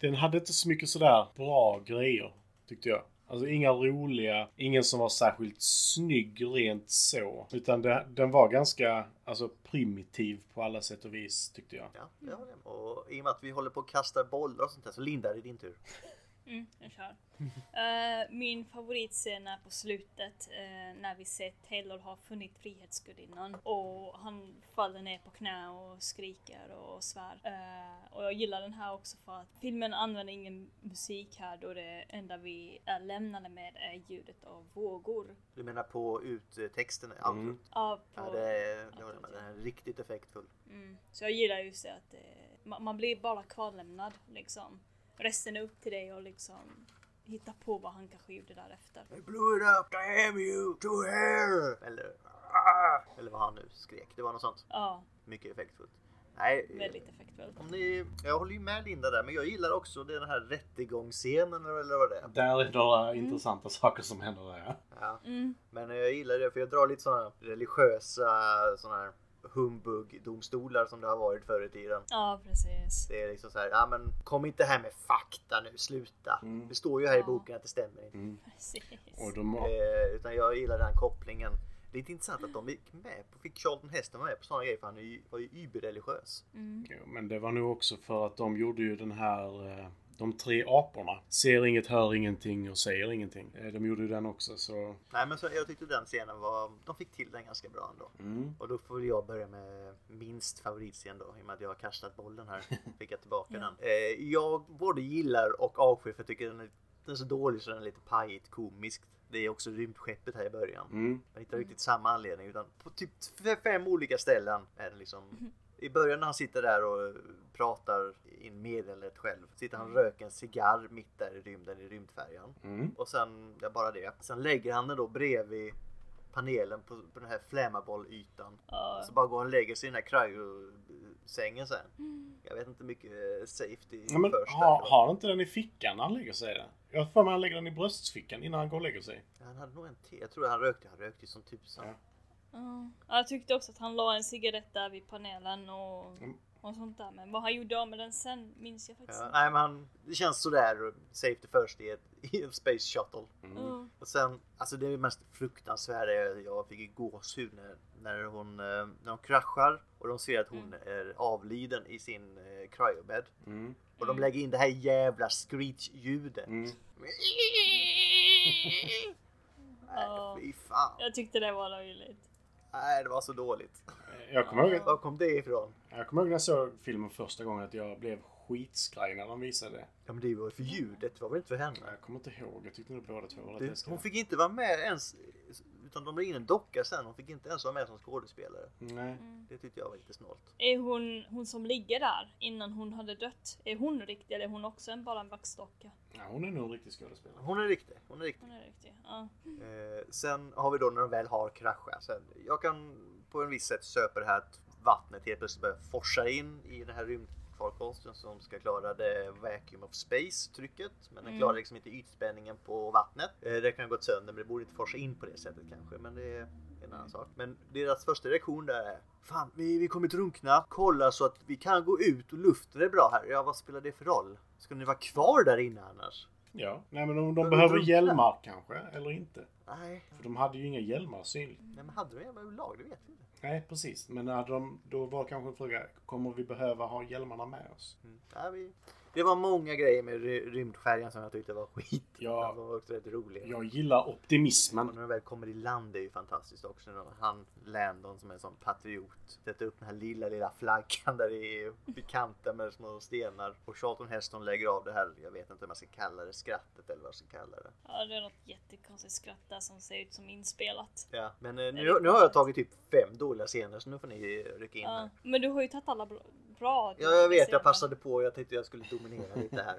S3: Den hade inte så mycket sådär bra grejer, tyckte jag. Alltså inga roliga, ingen som var särskilt snygg rent så. Utan det, den var ganska, alltså primitiv på alla sätt och vis, tyckte jag.
S2: Ja, det håller jag med. Och i och med att vi håller på att kasta bollar och sånt där så Linda det är din tur.
S1: Mm, jag kör. Eh, min favoritscen är på slutet eh, när vi ser Taylor har funnit Frihetsgudinnan och han faller ner på knä och skriker och svär. Eh, och jag gillar den här också för att filmen använder ingen musik här då det enda vi är lämnade med är ljudet av vågor.
S2: Du menar på uttexten? Mm.
S1: Ja, på,
S2: Ja, det, det håller jag med. Den är riktigt effektfull.
S1: mm. Så jag gillar just det att eh, man, man blir bara kvarlämnad liksom. Resten är upp till dig och liksom hitta på vad han kanske gjorde därefter.
S2: I blew it up, damn you, to hell! Eller, "Ah!" eller vad han nu skrek. Det var något sånt.
S1: Ja.
S2: Mycket effektfullt. Nej, eh,
S1: Väldigt effektfullt.
S2: om ni, jag håller ju med Linda där, men jag gillar också den här rättegångsscenen eller vad det är.
S3: Där är några intressanta saker som händer där. ja.
S2: Ja.
S1: Mm.
S2: Men jag gillar det för jag drar lite sådana religiösa sådana här humbug-domstolar som det har varit förr i tiden.
S1: Ja, precis.
S2: Det är liksom så här, ja men kom inte här med fakta nu, sluta.
S3: Mm.
S2: Det står ju här i
S1: Ja.
S2: boken att det stämmer inte.
S3: Mm.
S1: precis.
S3: Och de har...
S2: Eh, utan jag gillar den kopplingen. Lite intressant att de gick med på, fick Charlton Heston med på sådana grejer för han är ju, var ju überreligiös.
S1: Mm.
S3: Jo, Men det var nog också för att de gjorde ju den här... eh, De tre aporna. Ser inget, hör ingenting och säger ingenting. Eh, De gjorde ju den också så...
S2: Nej men så, jag tyckte den scenen var, de fick till den ganska bra ändå.
S3: Mm.
S2: Och då får väl jag börja med minst favoritscen då, i och med att jag har kastat bollen här. Fick jag tillbaka
S1: Ja.
S2: den. Eh, jag både gillar och avskyr för jag tycker den är, den är så dålig så den är lite pajigt komiskt. Det är också rymdskeppet här i början.
S3: Mm.
S2: Jag hittar riktigt samma anledning utan på typ f- fem olika ställen är det liksom i början när han sitter där och pratar in meddelandet själv. Sitter han och röker en cigarr mitt där i rymden i rymdfärjan.
S3: Mm.
S2: Och sen, ja, bara det. Sen lägger han den då bredvid panelen på, på den här flämabollytan.
S1: Ja.
S2: Så bara går han och lägger sig i den här cryosängen sen. Jag vet inte mycket eh, safety
S3: Ja, men
S2: först.
S3: har,
S2: där.
S3: har han inte den i fickan när han lägger sig? Där? Jag har för mig han lägger den i bröstfickan innan han går och lägger sig.
S2: Han hade nog en till. Jag tror han rökte. Han rökte ju som tusan.
S3: Ja.
S1: Ja. Ja, jag tyckte också att han la en cigarett där vid panelen och,
S3: Mm.
S1: och sånt där. Men vad han gjorde av med den sen minns jag faktiskt
S2: Ja,
S1: inte.
S2: nej men han, det känns sådär safety first i, ett, i en space shuttle.
S1: Ja.
S2: Och sen, alltså det är det mest fruktansvärda jag, jag fick ju gåshud när, när hon, eh, när hon kraschar och de ser att hon är avliden i sin eh, cryobed.
S3: Mm.
S2: Och de lägger in det här jävla screech-ljudet.
S3: Mm.
S1: Ja.
S2: Nej, fy fan.
S1: Jag tyckte det var löjligt.
S2: Nej, det var så dåligt.
S3: Eh, Jag kommer ihåg att
S2: Var kom det ifrån?
S3: Jag kommer ihåg när jag såg filmen första gången att jag blev skitskraj när de visade det.
S2: Ja men det var ju för ljudet, det var väl inte för henne?
S3: Jag kommer inte ihåg, jag tyckte nog båda två var rätt
S2: Du,
S3: läskiga.
S2: hon fick inte vara med ens, utan de la in en docka sen. Hon fick inte ens vara med som skådespelare.
S3: Nej.
S1: Mm.
S2: Det tyckte jag var lite snålt.
S1: Är hon, hon som ligger där innan hon hade dött, är hon riktig eller är hon också en, bara en vaxdocka?
S3: Ja, hon är nog en riktig skådespelare.
S2: Hon är riktig, hon är riktig.
S1: Hon är riktig. Ja.
S2: Eh, sen har vi då när de väl har kraschat. Sen, jag kan på en viss sätt söpa det här att vattnet helt plötsligt börjar forsa in i den här rymdfarkosten som ska klara det vacuum of space trycket. Men den
S1: Mm.
S2: klarar liksom inte ytspänningen på vattnet. Eh, det kan ha gått sönder men det borde inte forsa in på det sättet kanske. Men det är en annan sak. Men deras första reaktion där är Fan, vi, vi kommer drunkna. Kolla så att vi kan gå ut och luften är bra här. Ja, vad spelar det för roll? Ska ni vara kvar där inne annars?
S3: Ja. Nej, men de, de
S2: Men
S3: behöver
S2: drunkna.
S3: hjälmar kanske, eller inte.
S2: Nej,
S3: För de hade ju inga hjälmar synligt.
S2: Nej men hade de jävla lag? Det vet vi inte.
S3: Nej, precis. Men när de, då var kanske en fråga, kommer vi behöva ha hjälmarna med oss?
S2: Nej, vi... Det var många grejer med ry- rymdfärjan som jag tyckte var skit.
S3: Ja.
S2: De var också rätt roliga.
S3: Jag gillar
S2: Och
S3: optimismen.
S2: när de väl kommer i land det är ju fantastiskt också. När han, Landon som är en sån patriot, sätter upp den här lilla, lilla flaggan där i vid kanten med små stenar. Och Charlton Heston lägger av det här, jag vet inte hur man ska kalla det, skrattet eller vad man ska kalla det.
S1: ja, det är något jättekonstigt skratt där som ser ut som inspelat.
S2: Ja, men eh, nu, nu har jag tagit typ fem dåliga scener så nu får ni eh, rycka in
S1: Ja.
S2: här.
S1: Men du har ju tagit alla bra. bra
S2: Ja, jag vet,
S1: scener.
S2: jag passade på. Jag tänkte jag skulle dominera lite här.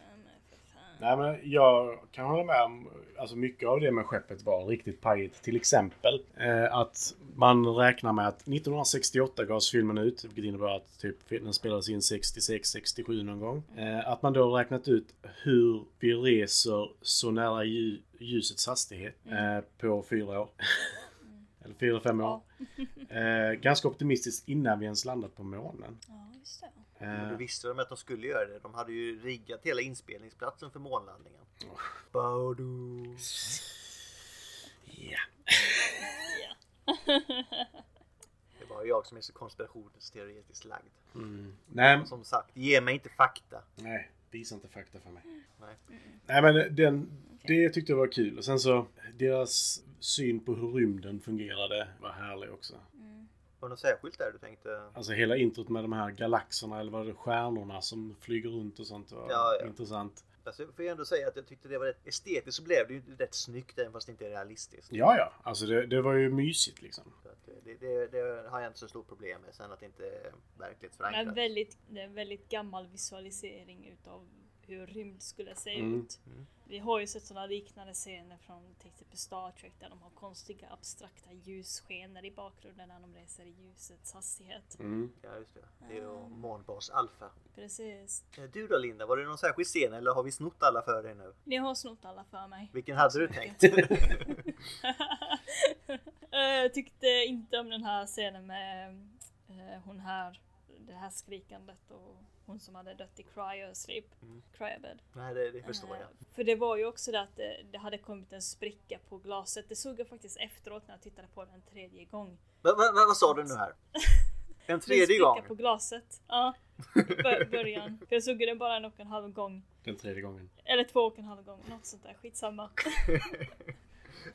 S1: Ja, men för fan.
S3: Nej, men jag kan hålla med om, alltså mycket av det med skeppet var riktigt pajigt. Till exempel eh, att man räknar med att 1968 gavs filmen ut, vilket innebär att typ, den spelades in 66, 67 någon gång. Eh, att man då räknat ut hur vi reser så nära lju- ljusets hastighet eh, på fyra år. Eller fyra, fem år. Eh, ganska optimistiskt innan vi ens landat på månen.
S1: Ja, just det.
S2: Men
S3: Eh,
S2: då visste de att de skulle göra det. De hade ju riggat hela inspelningsplatsen för månlandningen. Baudu.
S3: ja.
S1: Ja.
S2: Det var jag som är så konspirationsteoretiskt lagd.
S3: Nej,
S2: Som sagt, ge mig inte fakta.
S3: nej, visa inte fakta för mig.
S2: Nej.
S3: Nej men den, det tyckte jag var kul. Och sen så, deras syn på hur rymden fungerade var härlig också.
S2: Var det något särskilt där du tänkte?
S3: Alltså hela introt med de här galaxerna, eller vad det är, stjärnorna som flyger runt och sånt var
S2: Ja, ja.
S3: intressant.
S2: Alltså, får jag ändå säga att jag tyckte det var rätt estetiskt så blev det ju rätt snyggt även fast det inte är realistiskt.
S3: Ja, ja. Alltså det, det var ju mysigt liksom.
S2: Så att eh, det, det, det har jag inte så stort problem med. Sen att det inte är verkligt
S1: Men
S2: förankrat.
S1: väldigt, det är en väldigt gammal visualisering utav hur rymd skulle se
S3: Mm.
S1: ut. Vi har ju sett sådana liknande scener från till exempel Star Trek där de har konstiga abstrakta ljusskenor i bakgrunden när de reser i ljusets hastighet.
S3: Mm.
S2: Ja, just det. Det är ju månbas alfa.
S1: Precis.
S2: Eh, Du då Linda, var det någon särskild scen eller har vi snott alla för dig nu?
S1: Ni har snott alla för mig.
S2: Vilken hade du tänkt?
S1: Eh, Jag tyckte inte om den här scenen med eh, hon här, det här skrikandet och hon som hade dött i cryosleep,
S2: Mm.
S1: cryobed.
S2: Nej, det, det förstår jag.
S1: Eh, För det var ju också det att eh, det, det hade kommit en spricka på glaset. Det såg jag faktiskt efteråt när jag tittade på den en tredje gång.
S2: Va, va, va, vad sa du nu här? En
S1: Det är en
S2: tredje
S1: spricka
S2: gång?
S1: på glaset. Ja, i bör- början. För jag såg den bara en och en halv gång.
S3: Den tredje gången.
S1: Eller två och en halv gång, något sånt där. Skitsamma.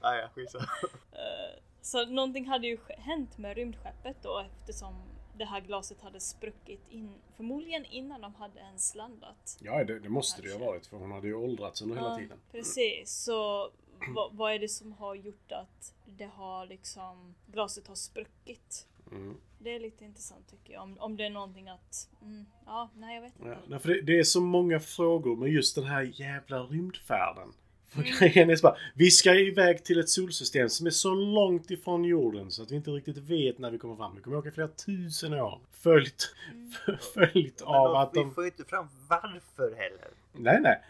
S2: Ah, ja, skitsamma.
S1: Eh, Så någonting hade ju sk- hänt med rymdskeppet då eftersom det här glaset hade spruckit in, förmodligen innan de hade ens landat.
S3: Ja, det, det måste det ju ha varit för hon hade ju åldrats under hela
S1: Ja,
S3: tiden.
S1: Precis, så vad, vad är det som har gjort att det har liksom, glaset har spruckit?
S3: Mm.
S1: Det är lite intressant tycker jag, om, om det är någonting att, mm, ja, nej jag vet inte.
S3: Ja, nej, för det, det är så många frågor med just den här jävla rymdfärden. För grejen är så bara, vi ska iväg till ett solsystem som är så långt ifrån jorden så att vi inte riktigt vet när vi kommer fram. Vi kommer åka flera tusen år. Följt, följt
S2: Men
S3: av att
S2: då,
S3: de...
S2: vi får ju inte fram varför heller.
S3: Nej, nej.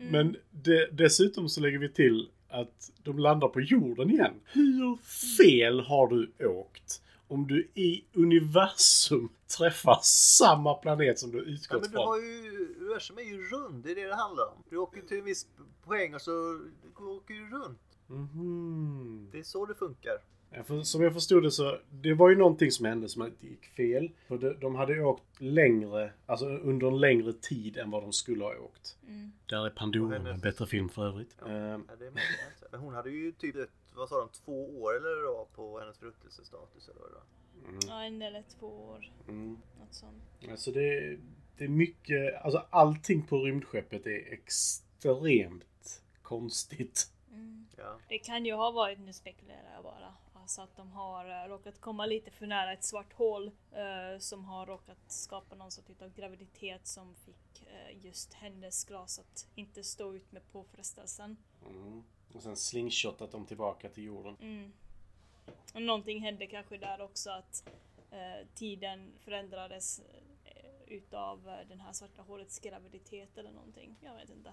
S1: Mm.
S3: Men de, dessutom så lägger vi till att de landar på jorden igen. Hur fel har du åkt om du i universum träffar samma planet som du
S2: Ja,
S3: utgått
S2: men du
S3: från?
S2: har ju, universum är ju rund, det är det det handlar om. Du åker ju till en viss poäng och så du åker ju runt.
S3: Mhm.
S2: Det är så det funkar.
S3: Ja, för, som jag förstod det så, det var ju någonting som hände som inte gick fel. För de, de hade ju åkt längre, alltså under en längre tid än vad de skulle ha åkt.
S1: Mm.
S3: Där är
S2: Och
S3: Pandora,
S2: hennes-
S3: en bättre film för övrigt.
S2: Ja.
S3: Ehm,
S2: Ja, det är möjligt. Men hon hade ju typ dött, vad sa de, två år eller vad det var på hennes fruktelsestatus eller vad det var.
S1: Ja, en eller två år,
S3: mm.
S1: något sånt.
S3: Alltså det, det är mycket, alltså allting på rymdskeppet är extremt konstigt.
S1: Mm.
S2: Ja.
S1: Det kan ju ha varit, nu spekulerar jag bara, alltså att de har eh, råkat komma lite för nära ett svart hål eh, som har råkat skapa någon sorts typ av graviditet som fick eh, just hennes glas att inte stå ut med påfrestelsen.
S3: Mm. Och sen slingshotat dem tillbaka till jorden.
S1: Mm. Och någonting hände kanske där också att eh, tiden förändrades eh, utav eh, den här svarta hålets graviditet eller någonting. Jag vet inte.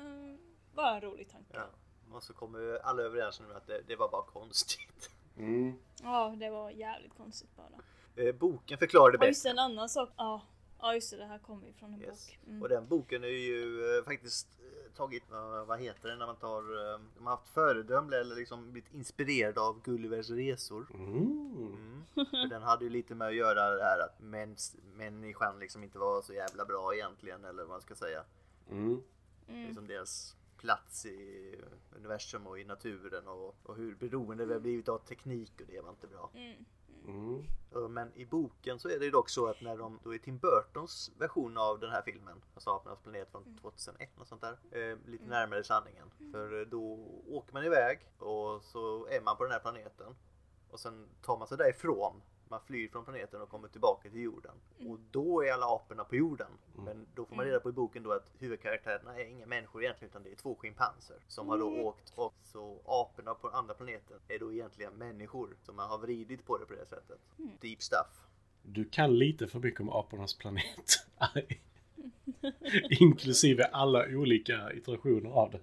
S1: Mm, bara en rolig tanke.
S2: ja. Och så kommer ju alla överens nu att det, det var bara konstigt.
S3: Mm.
S1: Ja, det var jävligt konstigt bara.
S2: Eh, Boken förklarade
S1: Ja just
S2: bäst.
S1: det, en annan sak. Ja, ja just det, det här kommer ju från en
S2: Yes.
S1: bok. Mm.
S2: Och den boken är ju eh, faktiskt eh, tagit, eh, vad heter det, när man tar, eh, de har haft föredömliga eller liksom blivit inspirerade av Gullivers resor.
S3: Mm.
S2: Mm. För den hade ju lite med att göra det här att mäns, människan liksom inte var så jävla bra egentligen eller vad man ska säga.
S3: Mm.
S1: Mm.
S2: Liksom deras plats i universum och i naturen och, och hur beroende vi har blivit av teknik och det var inte bra.
S1: Mm.
S3: Mm.
S2: Eh, Men i boken så är det ju dock så att när de, då i Tim Burtons version av den här filmen, alltså Apornas planet från 2001 och sånt där, eh, lite närmare sanningen. För eh, då åker man iväg och så är man på den här planeten och sen tar man sig därifrån. Man flyr från planeten och kommer tillbaka till jorden. Och då är alla aporna på jorden. Men då får man reda på i boken då att huvudkaraktärerna är inga människor egentligen utan det är två schimpanser som har då åkt och så aporna på den andra planeten är då egentligen människor. Så man har vridit på det på det sättet. Deep stuff.
S3: Du kan lite för mycket om apornas planet. Inklusive alla olika iterationer av det.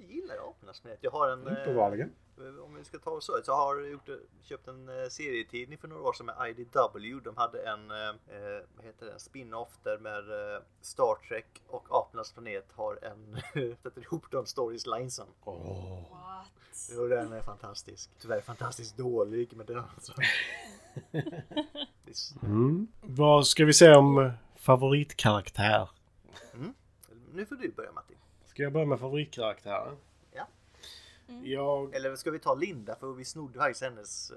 S2: Jag gillar ju apornas planet. Jag har en... Eh,
S3: Uppenbarligen.
S2: om vi ska ta oss så, så har jag gjort, köpt en eh, serietidning för några år sedan med IDW. De hade en, eh, eh, vad heter det, en spin-off där med eh, Star Trek och apornas planet har en, sätter ihop de stories linesen.
S3: Åh.
S1: Mm. What?
S2: Jo, den är fantastisk. Tyvärr fantastiskt dålig, men den alltså... Det är s-
S3: Mm. Vad ska vi säga om eh, favoritkaraktär?
S2: nu får du börja Matti.
S3: Ska jag börja med favoritkaraktären? Mm.
S2: Ja.
S3: Jag...
S2: Eller ska vi ta Linda, för vi snodde faktiskt hennes eh,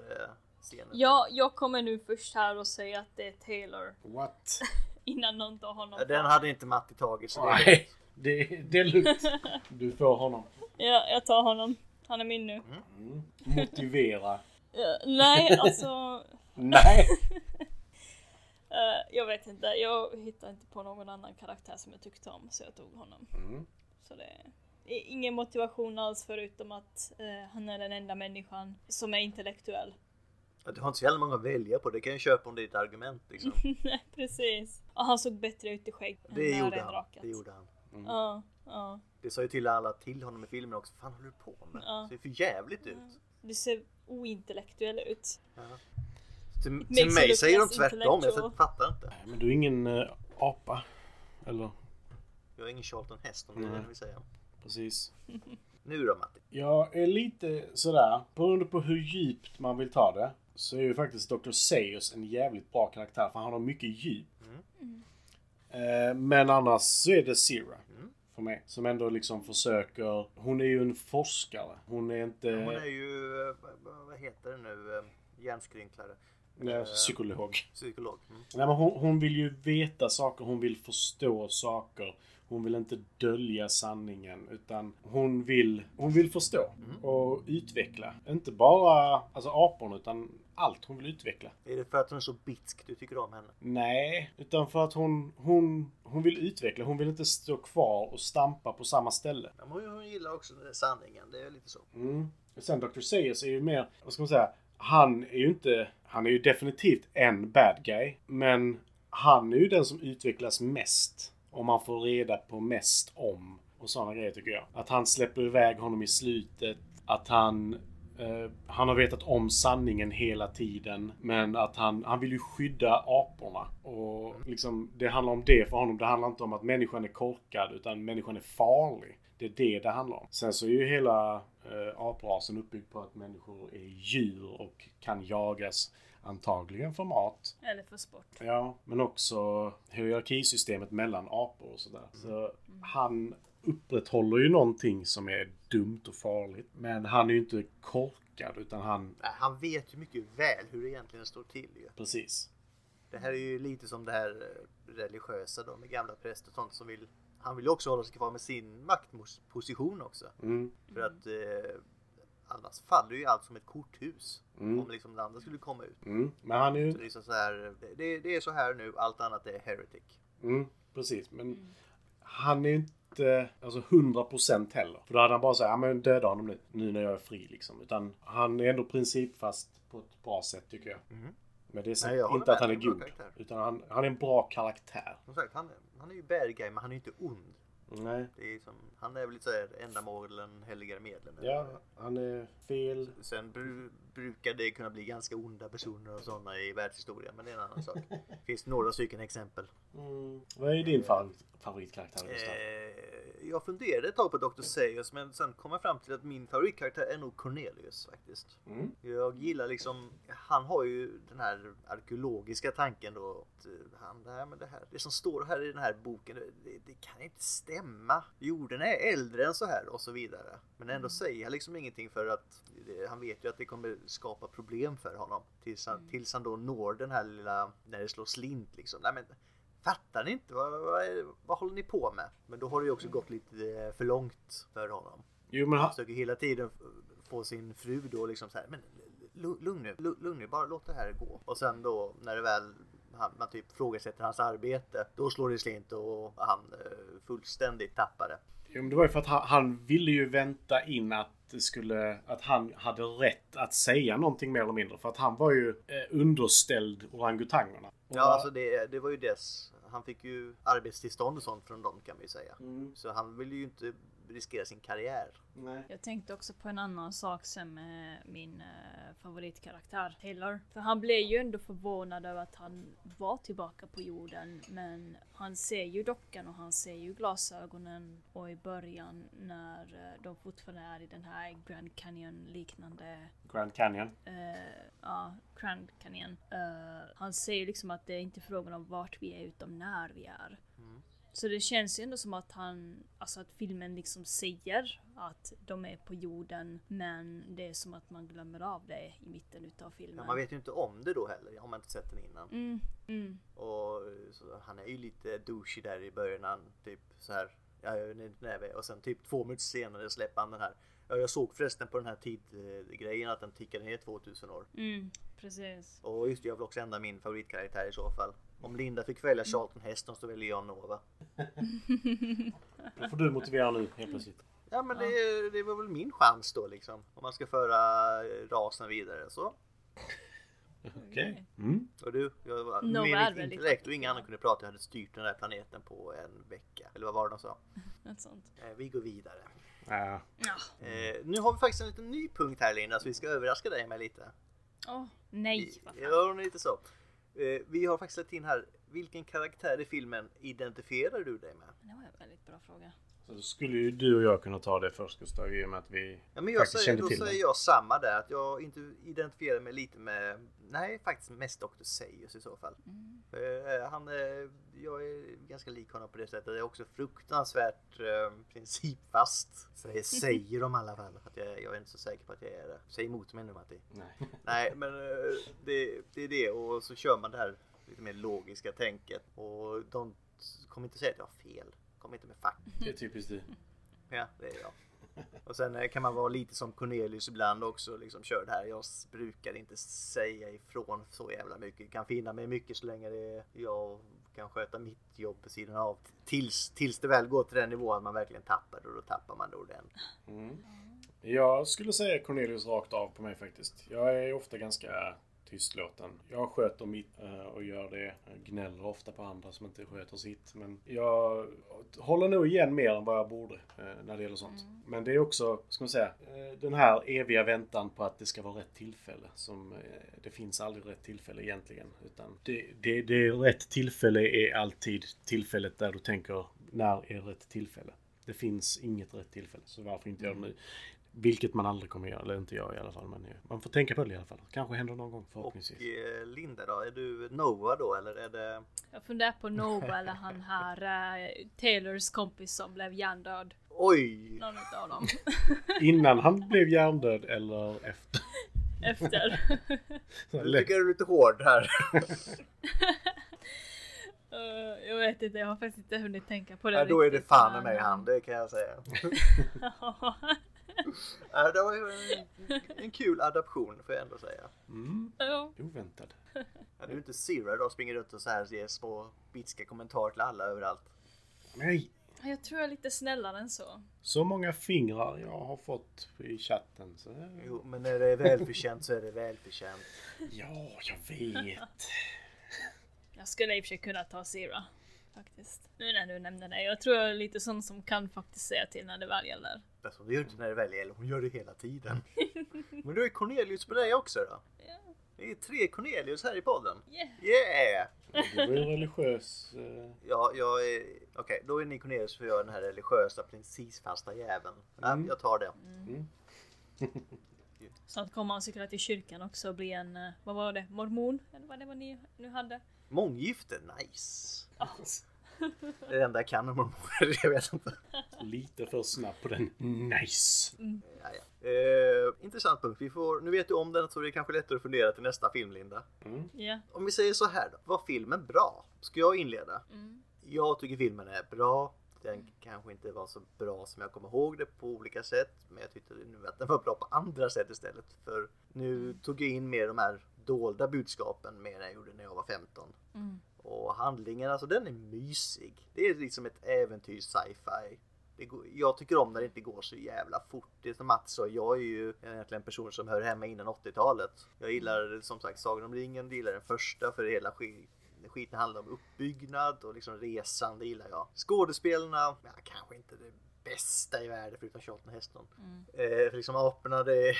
S2: scener.
S1: Ja, jag kommer nu först här och säga att det är Taylor
S3: What?
S1: innan någon tar honom.
S2: Ja, Den hade inte Matti tagit, så det
S3: Nej, det, det är lugnt. Du får honom.
S1: Ja, jag tar honom. Han är min nu.
S2: Mm.
S1: Eh,
S3: Motivera.
S1: Ja, nej, alltså.
S3: Nej!
S1: eh, jag vet inte, jag hittade inte på någon annan karaktär som jag tyckte om så jag tog honom.
S3: Mm.
S1: Så det är ingen motivation alls förutom att eh, han är den enda människan som är intellektuell.
S2: Ja, Du har inte så jävla många att välja på. Det kan jag köpa om det är ett argument. Liksom.
S1: Nej, precis. Och han såg bättre ut i skägg än
S2: Det, gjorde han.
S1: Mördardraket.
S2: det gjorde han.
S1: Ja, ja.
S2: Det sa ju till alla till honom i filmen också. Fan håller du på med?
S1: Ja.
S2: Det ser för jävligt ut.
S1: Du ser ointellektuell ut.
S2: Till,
S1: makes
S2: till
S1: you
S2: mig
S1: look
S2: säger de
S1: less
S2: tvärtom.
S1: intellectual.
S2: Jag fattar inte.
S3: Men du är ingen eh, apa. Eller
S2: Jag är ingen Charlton Heston. Det är det jag vill säga.
S3: precis.
S2: Nu då Matti.
S3: Jag är lite sådär, beroende på hur djupt man vill ta det, så är ju faktiskt Dr. Seuss en jävligt bra karaktär, för han har mycket djup.
S2: Mm.
S3: Eh, Men annars så är det Zira.
S2: Mm.
S3: För mig. Som ändå liksom försöker... Hon är ju en forskare. Hon är inte...
S2: Hon är ju, eh, vad- vad heter det nu, eh, hjärnskrynklare.
S3: Nej, psykolog.
S2: Psykolog. Mm.
S3: Nej, men hon, hon vill ju veta saker, hon vill förstå saker. Hon vill inte dölja sanningen, utan hon vill, hon vill förstå och utveckla. Inte bara alltså, aporna, utan allt hon vill utveckla.
S2: Är det för att hon är så bitsk du tycker om henne?
S3: Nej, utan för att hon, hon, hon vill utveckla. Hon vill inte stå kvar och stampa på samma ställe.
S2: Ja, men hon gillar också den där sanningen. Det är lite så.
S3: Mm. Och Sen Dr. Seuss är ju mer, vad ska man säga, han är ju inte, han är ju definitivt en bad guy, men han är ju den som utvecklas mest och man får reda på mest om och sådana grejer tycker jag. Att han släpper iväg honom i slutet, att han eh, han har vetat om sanningen hela tiden, men att han, han vill ju skydda aporna. Och liksom, det handlar om det för honom. Det handlar inte om att människan är korkad, utan människan är farlig. Det är det det handlar om. Sen så är ju hela eh, aprasen uppbyggd på att människor är djur och kan jagas, antagligen för mat.
S1: Eller för sport.
S3: Ja, men också hierarkisystemet mellan apor och sådär. Så han upprätthåller ju någonting som är dumt och farligt. Men han är ju inte korkad utan han...
S2: Nej, Han vet ju mycket väl hur det egentligen står till ju.
S3: Precis.
S2: Det här är ju lite som det här eh, religiösa då med gamla präster och sånt som vill Han vill ju också hålla sig kvar med sin maktposition också.
S3: Mm.
S2: För att eh, annars faller ju allt som ett korthus.
S3: Mm.
S2: Om liksom det andra skulle komma ut.
S3: Mm. Men han är
S2: Så
S3: ju...
S2: det, är så här, det, det är så här nu, allt annat är heretic.
S3: Mm, precis, men han är ju inte alltså 100% heller. För då hade han bara sagt ja men döda honom nu, nu när jag är fri liksom. Utan han är ändå principfast på ett bra sätt tycker jag.
S2: Mm.
S3: Men det är
S2: Nej, jag
S3: sagt
S2: håller
S3: inte att
S2: med.
S3: han är
S2: Han är en
S3: god.
S2: bra karaktär.
S3: Utan han, han är en bra karaktär.
S2: Som sagt, han, han är ju bad guy men han är ju inte ond.
S3: Nej.
S2: Det är som, han är väl lite såhär ändamålen helgar medlen.
S3: Ja, han är fel.
S2: Sen bru, brukar det kunna bli ganska onda personer och sådana i världshistorien men det är en annan sak. finns några stycken exempel.
S3: Mm. Vad är din favorit, favoritkaraktär Gustav?
S2: Eh, jag funderade ett tag på Dr. Seuss men sen kom jag fram till att min favoritkaraktär är nog Cornelius faktiskt.
S3: Mm.
S2: Jag gillar liksom, han har ju den här arkeologiska tanken då. att, eh, Han, det, här med det, här, det som står här i den här boken, det, det kan inte stämma. Jorden är äldre än så här och så vidare. Men ändå säger han liksom ingenting för att eh, han vet ju att det kommer skapa problem för honom. Tills han, tills han då når den här lilla, när det slår slint liksom. Nej, men, Fattar ni inte? Vad, vad, är, vad håller ni på med? Men då har det ju också gått lite eh, för långt för honom.
S3: Jo men han,
S2: Han försöker hela tiden f- få sin fru då liksom så här, men lu- lugn nu, lu- lugn nu, bara låt det här gå. Och sen då när det väl han, man typ frågasätter hans arbete, då slår det slint och han eh, fullständigt tappar det.
S3: jo, men det var ju för att han, han ville ju vänta in att det skulle, att han hade rätt att säga någonting mer eller mindre. För att han var ju eh, underställd orangutangerna. Och-
S2: Ja, alltså det, det var ju dess. Han fick ju arbetstillstånd och sånt från dem kan vi säga.
S3: Mm,
S2: Så han ville ju inte riskera sin karriär.
S3: nej.
S1: Jag tänkte också på en annan sak som eh, min eh, favoritkaraktär Taylor. För han blev ju ändå förvånad över att han var tillbaka på jorden. Men han ser ju dockan och han ser ju glasögonen. Och i början när eh, de fortfarande är i den här Grand Canyon liknande
S3: Grand Canyon.
S1: eh, ja, Grand Canyon. Eh, han säger liksom att det är inte frågan om vart vi är utan när vi är.
S2: Mm.
S1: Så det känns ju ändå som att han, alltså att filmen liksom säger att de är på jorden men det är som att man glömmer av det i mitten utav
S2: Men
S1: filmen.
S2: man vet ju inte om det då heller, om man inte sett den innan.
S1: Mm, mm,
S2: Och så, han är ju lite douchey där i början. när Han typ så här. Ja, jag är nöjd med det." och sen typ två minuter senare släpper han den här. Ja, jag såg förresten på den här tidgrejen att den tickade ner 2000 år.
S1: mm, precis.
S2: Och just det, jag vill också ändra min favoritkaraktär i så fall. Om Linda fick välja Charlton Heston så väljer jag Nova.
S3: Då får du motivera nu helt plötsligt.
S2: Ja men
S1: Ja.
S2: Det, det var väl min chans då liksom. Om man ska föra eh, rasen vidare så.
S3: Okej. Mm.
S2: Och du? Jag var,
S1: Nova
S2: med
S1: är
S2: mitt
S1: väldigt
S2: intellekt och
S1: aktiv.
S2: inga andra kunde prata. Jag hade styrt den där planeten på en vecka. Eller vad var det de sa?
S1: Något sånt.
S2: Eh, vi går vidare.
S3: Ja.
S1: Ja.
S2: Eh, nu har vi faktiskt en liten ny punkt här Linda så vi ska överraska dig med lite.
S1: Åh, nej, vad fan.
S2: Ja, lite så. Eh, vi har faktiskt lagt in här. Vilken karaktär i filmen identifierar du dig med?
S1: Det var en väldigt bra fråga.
S3: Så då skulle ju du och jag kunna ta det först Gustav i och med att vi
S2: Ja, men jag
S3: faktiskt
S2: säger,
S3: kände
S2: då
S3: till det.
S2: säger jag samma där, att jag inte identifierar mig lite med, nej faktiskt mest Dr. Seius i så fall.
S1: Mm.
S2: Eh, han, eh, jag är ganska lik honom på det sättet, jag är också fruktansvärt eh, principfast. Säger, säger de i alla fall, att jag, jag är inte så säker på att jag är det. Säg emot mig nu Matti.
S3: Nej.
S2: Nej, men eh, det, det är det och så kör man det här lite mer logiska tänket och de kommer inte säga att jag har fel. Kom inte med fakta.
S3: Det är typiskt du.
S2: Ja, det är jag. Och sen eh, kan man vara lite som Cornelius ibland också, liksom kör det här. Jag s- brukar inte säga ifrån så jävla mycket. Jag kan finna mig mycket så länge det jag kan sköta mitt jobb på sidan av. Tills, tills det väl går till den nivån att man verkligen tappar det, och då tappar man det ordentligt.
S3: Mm. Jag skulle säga Cornelius rakt av på mig faktiskt. Jag är ofta ganska tystlåten. Jag sköter mitt eh, och gör det. Jag gnäller ofta på andra som inte sköter sitt. Men jag håller nog igen mer än vad jag borde eh, när det gäller sånt. Men det är också, ska man säga, eh, den här eviga väntan på att det ska vara rätt tillfälle. Som, eh, det finns aldrig rätt tillfälle egentligen. Utan det, det, det är rätt tillfälle är alltid tillfället där du tänker när är rätt tillfälle. Det finns inget rätt tillfälle, så varför inte göra det nu? Vilket man aldrig kommer göra, eller inte jag i alla fall. Men eh, man får tänka på det i alla fall. Kanske händer någon gång förhoppningsvis.
S2: Och eh, Linda då, är du Noah då eller är det...
S1: Jag funderar på Nova eller han här eh, Taylors kompis som blev hjärndöd.
S2: Oj!
S1: Någon utav dem.
S3: Innan han blev hjärndöd eller efter.
S1: Efter.
S2: Nu tycker jag du är lite hård här.
S1: Eh, jag vet inte, jag har faktiskt inte hunnit tänka på det
S2: Ja, då är det
S1: riktigt,
S2: fan i
S1: men- eh,
S2: mig han, det kan jag säga.
S1: Ja.
S2: Ja, det var ju en, en kul adaption får jag ändå säga.
S3: Mm,
S1: Ja.
S3: oväntad.
S2: Ja, du är inte Zero då springer runt och så här ger små bitska kommentarer till alla överallt.
S3: Nej!
S1: Jag tror jag är lite snällare än så.
S3: Så många fingrar jag har fått i chatten. Så...
S2: Jo, men när det är välförtjänt så är det välförtjänt.
S3: Ja, jag vet.
S1: Jag skulle i och för sig kunna ta Zira. Faktiskt. Nu när du nämner det. Jag tror jag är lite sån som kan faktiskt säga till när det väl gäller.
S2: Alltså, det gör inte när det väl gäller, hon gör det hela tiden. Men du är Cornelius på dig också då?
S1: Ja.
S2: Det är tre Cornelius här i podden.
S1: Yeah.
S2: Yeah!
S3: Du var ju religiös. eh,
S2: Ja, jag är... Okej, då är ni Cornelius för jag är den här religiösa, principfasta jäveln. Ja,
S3: Mm.
S2: jag tar det.
S1: Snart kommer han säkert till kyrkan också och bli en, eh, vad var det, mormon? Eller vad det var ni nu hade?
S2: Månggifte, nice! Det är det enda jag kan om mormoner, jag vet inte.
S3: Lite för snabb på den. Nice!
S2: Ja, ja. Eh, intressant punkt. Vi får, nu vet du om den så det är kanske lättare att fundera till nästa film, Linda.
S1: Ja.
S2: Om vi säger så här då. Var filmen bra? Ska jag inleda?
S1: Mm.
S2: Jag tycker filmen är bra. Den kanske inte var så bra som jag kommer ihåg det på olika sätt. Men jag tyckte nu att den var bra på andra sätt istället. För nu tog jag in mer de här dolda budskapen mer än jag gjorde när jag var 15.
S1: Mm.
S2: Och handlingen, alltså den är mysig. Det är liksom ett äventyr sci-fi. Det går, jag tycker om när det inte går så jävla fort. Det är som Mats sa, jag är ju egentligen en person som hör hemma innan 80-talet. Jag gillar som sagt Sagan om ringen, det gillar den första för hela sk- skiten handlar om uppbyggnad och liksom resan, det gillar jag. Skådespelarna, ja, kanske inte det bästa i världen förutom Charlton Heston.
S1: Mm.
S2: Eh, för liksom aporna, det,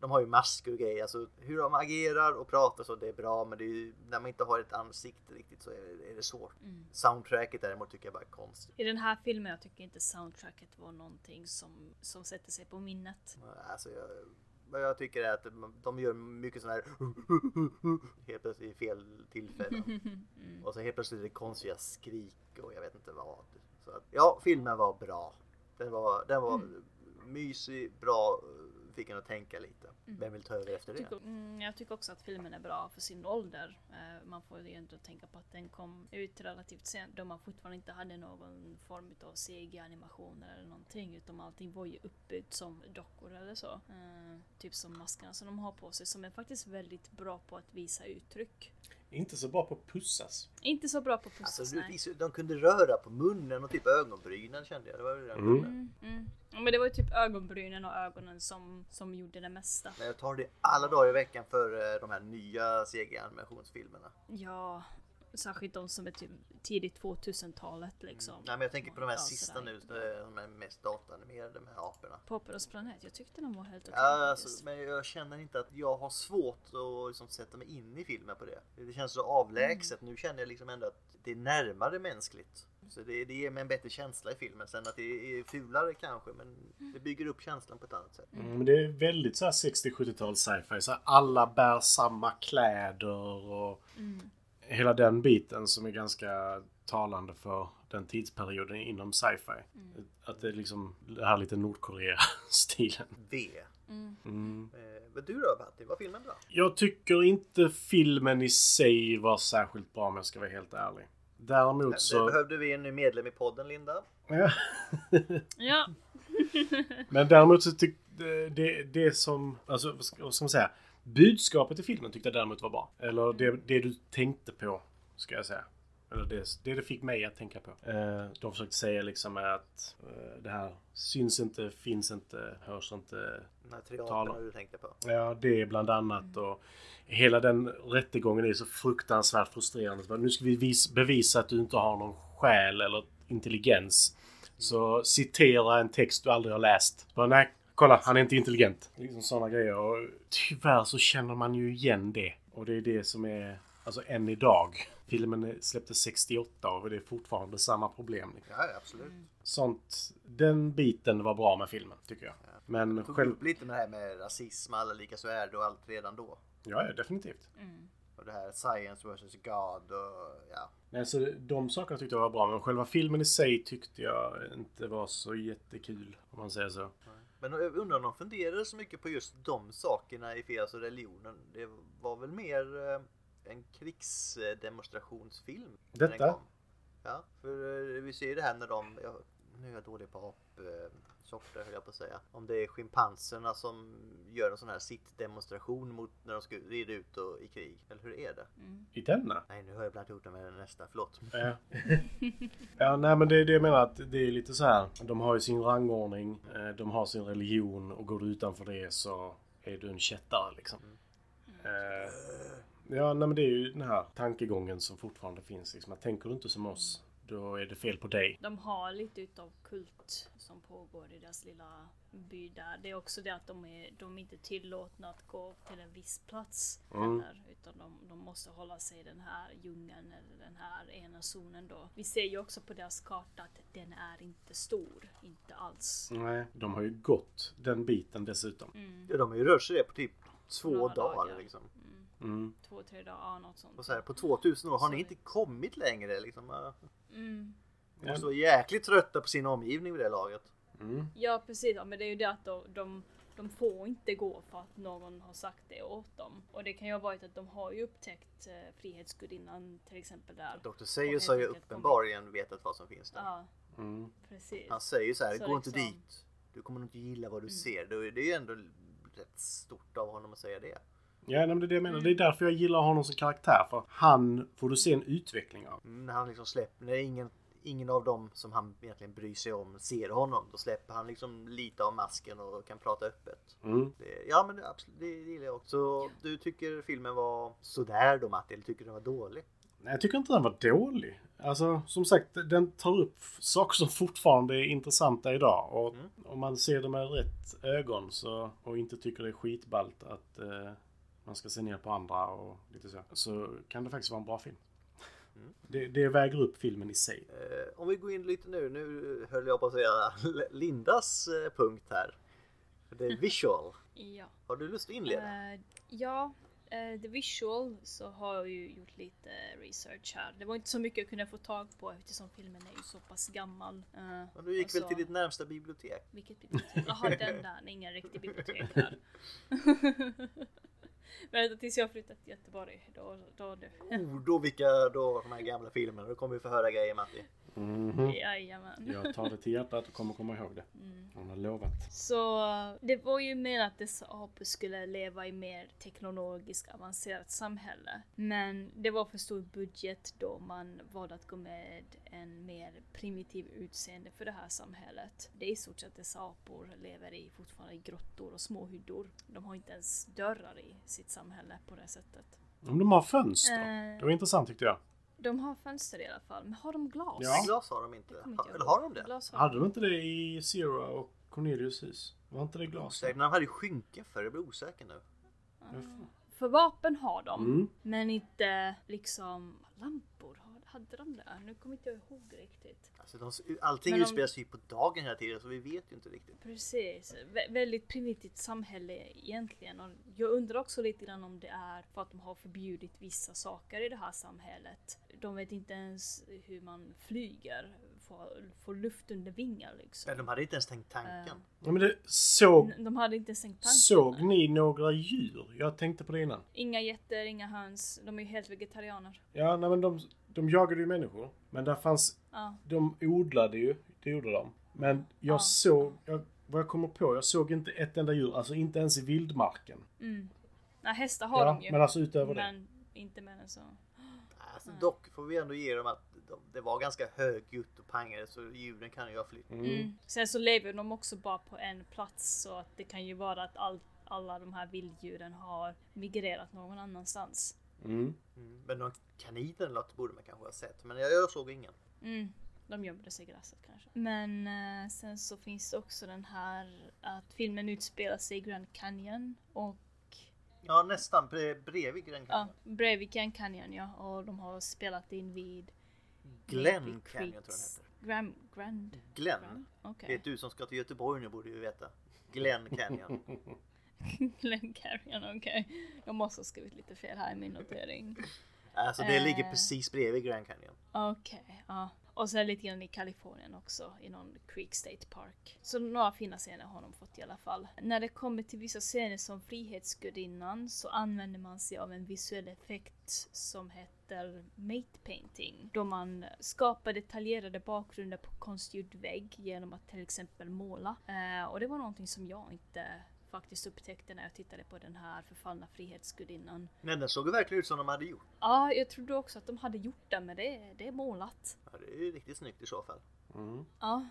S2: de har ju masker och grejer. Alltså hur de agerar och pratar så det är bra. Men det är ju, när man inte har ett ansikte riktigt så är, är det svårt.
S1: Mm.
S2: Soundtracket däremot tycker jag bara är konstigt.
S1: I den här filmen jag tycker inte soundtracket var någonting som, som sätter sig på minnet.
S2: Alltså, jag, vad jag tycker är att de gör mycket sådana här helt plötsligt i fel tillfällen.
S1: Mm.
S2: Och så helt plötsligt är det konstiga skrik och jag vet inte vad.
S1: Mm.
S2: Så att, ja, filmen var bra. Den var, den var mysig, bra, fick en att tänka lite. Vem vill ta över efter det?
S1: Mm. Tycker, mm, jag tycker också att filmen är bra för sin ålder. Eh, man får ju ändå tänka på att den kom ut relativt sent då man fortfarande inte hade någon form av CG-animationer eller någonting utan allting var ju uppbyggt som dockor eller så. Eh, typ som maskerna som de har på sig som är faktiskt väldigt bra på att visa uttryck.
S3: Inte så bra på att pussas.
S1: Inte så bra på att pussas,
S2: Alltså, du,
S1: nej.
S2: visst, de kunde röra på munnen och typ ögonbrynen kände jag. Det var ju det.
S3: Mm.
S1: Mm, mm. Ja, Men det var ju typ ögonbrynen och ögonen som, som gjorde det mesta.
S2: Men jag tar det alla dagar i veckan för eh, de här nya CG-animationsfilmerna.
S1: Ja, särskilt de som är typ tidigt 2000-talet liksom.
S2: Nej men jag tänker på de här
S1: Ja,
S2: sista
S1: sådär.
S2: nu, eh, de här mest datanimerade med aporna.
S1: Popperos planet, jag tyckte den var helt okej
S2: Ja, alltså,
S1: faktiskt.
S2: men jag känner inte att jag har svårt att liksom, sätta mig in i filmen på det. Det känns så avlägset. Nu känner jag liksom ändå att det är närmare mänskligt. Så det, det ger mig en bättre känsla i filmen. Sen att det är fulare kanske, men det bygger upp känslan på ett annat sätt.
S3: Mm, men det är väldigt så här 60-70-tals sci-fi. Så här, alla bär samma kläder och hela den biten som är ganska talande för den tidsperioden inom sci-fi. Att det är liksom det här lite Nordkorea-stilen.
S2: V.
S3: Mm.
S2: Eh, men du då Patti, var filmen bra?
S3: Jag tycker inte filmen i sig var särskilt bra om jag ska vara helt ärlig. Däremot
S2: Det
S3: så...
S2: behövde vi en ny medlem i podden Linda.
S1: Ja,
S3: Men däremot så tyckte det, det som, alltså vad ska, vad ska man säga? Budskapet i filmen tyckte jag däremot var bra. Eller det, det du tänkte på, ska jag säga. Eller det det, det fick mig att tänka på. Eh, de försökte säga liksom att eh, det här syns inte, finns inte, hörs inte.
S2: Den här triaden
S3: Tala.
S2: har du tänkte på.
S3: Ja, det är bland annat och hela den rättegången är så fruktansvärt frustrerande. Så bara, Nu ska vi vis, bevisa att du inte har någon själ eller intelligens. Så citera en text du aldrig har läst. Bara, nej, kolla, han är inte intelligent. Liksom sådana grejer. Och tyvärr så känner man ju igen det. Och det är det som är, alltså än idag. Filmen släpptes 68 och det är fortfarande samma problem.
S2: Ja, ja, absolut.
S3: Mm. Sånt, den biten var bra med filmen, tycker jag. Men
S2: Tog
S3: själv...
S2: upp lite med det här med rasism, alla lika så är det och allt redan då.
S3: Ja, ja, definitivt.
S2: Och det här science versus God och ja.
S3: Nej, så de sakerna tyckte jag var bra, men själva filmen i sig tyckte jag inte var så jättekul, om man säger så.
S2: Men jag undrar om de funderade så mycket på just de sakerna i fel, alltså religionen. Det var väl mer eh, en krigsdemonstrationsfilm? när den
S3: Detta?
S2: kom. Ja, för eh, vi ser ju det här när de, ja, nu är jag dålig på apsorter höll jag på att säga. Om det är schimpanserna som gör en sån här sittdemonstration mot när de ska rida ut och, i krig. Eller hur är det?
S3: I denna?
S2: Nej, nu har jag blandat ihop det med nästa, förlåt.
S3: Ja. ja, nej men det är det jag menar att det är lite så här. De har ju sin rangordning, eh, de har sin religion och går du utanför det så är du en kättare liksom. Eh, Ja, nej men det är ju den här tankegången som fortfarande finns liksom. Att tänker du inte som oss, då är det fel på dig.
S1: de har lite utav kult som pågår i deras lilla by där. Det är också det att de är, de är inte tillåtna att gå till en viss plats
S2: Mm.
S1: heller. Utan de, de måste hålla sig i den här djungeln eller den här ena zonen då. Vi ser ju också på deras karta att den är inte stor. Inte alls.
S2: Mm.
S1: Mm,
S3: Nej, de har ju gått den biten dessutom.
S2: Ja, de har ju rört sig det på typ två
S1: Några
S2: dagar,
S1: dagar.
S2: liksom.
S3: Mm.
S1: Två, tre dagar, ja, något sånt.
S2: Och så här, på 2000 år har ni inte kommit längre liksom. Eh,
S1: Mm.
S2: De måste vara jäkligt trötta på sin omgivning vid det laget.
S1: Ja precis, ja, men det är ju det att de, de, de får inte gå för att någon har sagt det åt dem. Och det kan ju ha varit att de har ju upptäckt eh, Frihetsgudinnan till exempel där.
S2: Dr.
S1: Och
S2: Seius
S1: helt
S2: har ju
S1: enkelt
S2: uppenbarligen vetat vad som finns där.
S1: Ja,
S3: Mm.
S1: precis.
S2: Han säger ju så här,
S1: Så
S2: gå inte
S1: liksom- Mm.
S2: dit. Du kommer nog inte gilla vad du ser. Det är- Det är ju ändå rätt stort av honom att säga det.
S3: Ja, nej, men det är det jag menar. Det är därför jag gillar honom som karaktär. För han får du se en utveckling av.
S2: Mm, När han liksom släpper, när ingen, ingen av dem som han egentligen bryr sig om ser honom, då släpper han liksom lite av masken och kan prata öppet.
S3: Mm.
S2: Det, ja men det, absolut, det gillar jag också. Så du tycker filmen var sådär då Matti, eller tycker du den var dålig?
S3: Nej, jag tycker inte den var dålig. Alltså, som sagt, den tar upp saker som fortfarande är intressanta idag. Och om man ser det med rätt ögon så, och inte tycker det är skitballt att eh, man ska se ner på andra och lite så. Så kan det faktiskt vara en bra film. Det, det väger upp filmen i sig.
S2: Eh, om vi går in lite nu, nu höll jag på att säga Lindas eh, punkt här. Det är visual.
S1: Ja.
S2: Har du lust att inleda?
S1: Eh, ja, eh, eh, The Visual så har jag ju gjort lite research här. Det var inte så mycket jag kunde få tag på eftersom filmen är ju så pass gammal. Eh,
S2: Men du gick
S1: och
S2: väl
S1: så-
S2: till ditt närmsta bibliotek?
S1: Vilket bibliotek? Jaha, den där. Det är ingen riktig bibliotek där. Vänta tills jag har flyttat till Göteborg. Då, då du.
S2: Oh, då vilka då de här gamla filmerna. Då kommer vi få höra grejer Matti.
S3: Mhm.
S1: Jajamän.
S3: Jag tar det till hjärtat och kommer komma ihåg det. Hon har lovat.
S1: Så det var ju menat att dessa apor skulle leva i mer teknologiskt avancerat samhälle. Men det var för stor budget då man valde att gå med en mer primitiv utseende för det här samhället. Det är i stort sett dessa apor lever i fortfarande i grottor och små hyddor. De har inte ens dörrar i sitt samhälle på det sättet.
S3: Om de har fönster.
S1: Eh.
S3: Det var intressant tyckte jag.
S1: De har fönster i alla fall, men har de glas?
S3: Ja.
S2: Nej, glas har de inte.
S1: Det kommer
S2: Ha,
S1: inte jag
S2: eller
S1: ihåg.
S2: har de det?
S1: Glas har
S3: Hade de inte det i Zero och Cornelius hus? Var inte det glas?
S2: Osäker, men de hade ju skynke för det blir osäker nu.
S1: För vapen har de,
S3: Mm.
S1: men inte liksom lampor. har- Hade de det? Nu kommer inte jag ihåg riktigt.
S2: Alltså, de, allting
S1: Men de-
S2: utspelar sig ju på dagen hela tiden så vi vet ju inte riktigt.
S1: Precis, Vä- väldigt primitivt samhälle egentligen. Och jag undrar också lite grann om det är för att de har förbjudit vissa saker i det här samhället. De vet inte ens hur man flyger, får, får luft under vingar
S2: Men
S1: liksom.
S2: de hade inte ens tänkt tanken.
S1: Eh.
S3: Ja, men det såg,
S1: N- De hade inte ens tänkt tanken.
S3: såg ni några djur? Jag tänkte på det innan.
S1: Inga getter, inga höns. De är ju helt vegetarianer.
S3: Ja, nej, men de, de jagade ju människor. Men där fanns...
S1: Ja.
S3: De odlade ju. Det gjorde de. Men jag
S1: Ja.
S3: såg... Jag, vad jag kommer på, jag såg inte ett enda djur. Alltså inte ens i vildmarken.
S1: Mm. Nej, hästar har de ju.
S3: men alltså utöver det.
S1: Men inte mer än så.
S2: Alltså, dock får vi ändå ge dem att de, det var ganska högljutt och pangade så ljuden kan ju ha flytt.
S1: Mm. Sen så lever de också bara på en plats så att det kan ju vara att all, alla de här vilddjuren har migrerat någon annanstans.
S3: Mm.
S2: Mm. Men någon kanin eller något borde man kanske ha sett. Men jag, jag såg ingen.
S1: Mm. De gömde sig i gräset kanske. Men eh, sen så finns det också den här att filmen utspelar sig i Grand Canyon och
S2: Ja nästan bre, bredvid Grand
S1: ja,
S2: Canyon.
S1: bredvid Grand Canyon ja. Och de har spelat in vid
S2: Glenn
S1: Maple
S2: Canyon tror jag den
S1: Creeks-
S2: heter.
S1: Grand, Grand,
S2: Glenn.
S1: Grand? Okej.
S2: Vet du som ska till Göteborg nu borde ju veta. Glenn Canyon.
S1: Glenn Canyon, okej. Jag måste ha skrivit lite fel här i min notering.
S2: Alltså det
S1: Eh.
S2: ligger precis bredvid Grand Canyon.
S1: Okej, ja. Och sen lite grann i Kalifornien också, i någon Creek State Park. Så några fina scener har de fått i alla fall. När det kommer till vissa scener som Frihetsgudinnan så använder man sig av en visuell effekt som heter mate painting. Då man skapar detaljerade bakgrunder på konstgjord vägg genom att till exempel måla. Eh, och det var någonting som jag inte faktiskt upptäckte när jag tittade på den här förfallna Frihetsgudinnan.
S2: Men den såg ju verkligen ut som de hade gjort.
S1: Ja, jag trodde också att de hade gjort det, men det, det är målat.
S2: Ja, det är ju riktigt snyggt i så fall.
S3: Mm.
S1: Ja.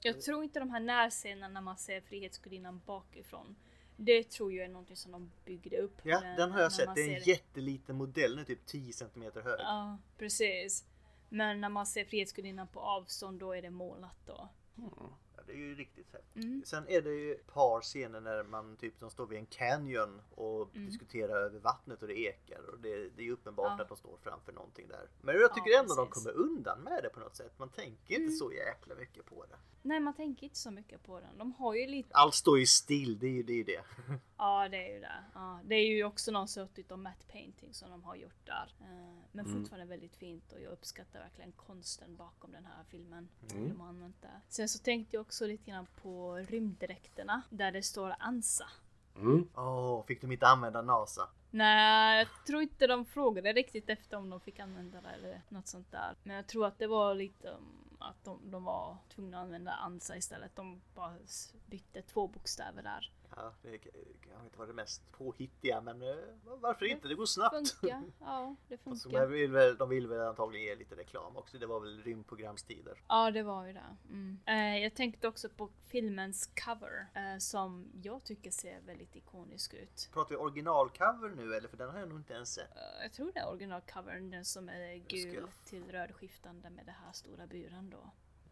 S1: Jag tror inte de här närscenerna när man ser Frihetsgudinnan bakifrån. Det tror jag är någonting som de byggde upp.
S2: Ja,
S1: när-
S2: den har jag
S1: när
S2: sett.
S1: man
S2: Det är en
S1: ser-
S2: jätteliten modell. Den är typ 10 cm hög.
S1: Ja, precis. Men när man ser Frihetsgudinnan på avstånd, då är det målat då.
S2: Ja, det är ju riktigt häftigt.
S1: Mm.
S2: Sen är det ju ett par scener när man typ de står vid en canyon och diskuterar över vattnet och det ekar och det, det är ju uppenbart
S1: Mm. Ja.
S2: att de står framför någonting där. Men jag tycker
S1: Ja,
S2: ändå de
S1: precis. Mm.
S2: kommer undan med det på något sätt. Man tänker inte så jäkla mycket på det.
S1: Nej, man tänker inte så mycket på den. De har ju lite...
S2: Allt står ju still, det är ju det. Är ju det.
S1: Ja, det är ju det. Ja, det är ju också någon sort av matte painting som de har gjort där. Eh, Men fortfarande väldigt fint och jag uppskattar verkligen konsten bakom den här filmen. hur De har använt det. Sen så tänkte jag också lite grann på rymddräkterna där det står ANSA.
S3: Mm.
S2: Åh, fick de inte använda NASA?
S1: Nej, jag tror inte de frågade riktigt efter om de fick använda det eller något sånt där. Men jag tror att det var lite um, att de, de var tvungna att använda ANSA istället. De bara s- bytte två bokstäver där.
S2: Ja, det k- kanske inte var det mest påhittiga men eh, varför inte? Det går snabbt.
S1: Funkar, ja det
S2: Och så de
S1: funkar.
S2: vill väl, de vill väl antagligen ge lite reklam också. Det var väl rymdprogramstider.
S1: Ja det var ju det. Mm. Eh, jag tänkte också på filmens cover eh, som jag tycker ser väldigt ikonisk ut.
S2: Pratar vi originalcover nu eller? För den har jag nog inte ens sett.
S1: Eh, Jag tror det är originalcovern, den som är
S2: ska
S1: gul
S2: jag-
S1: till rödskiftande med den här stora buren då.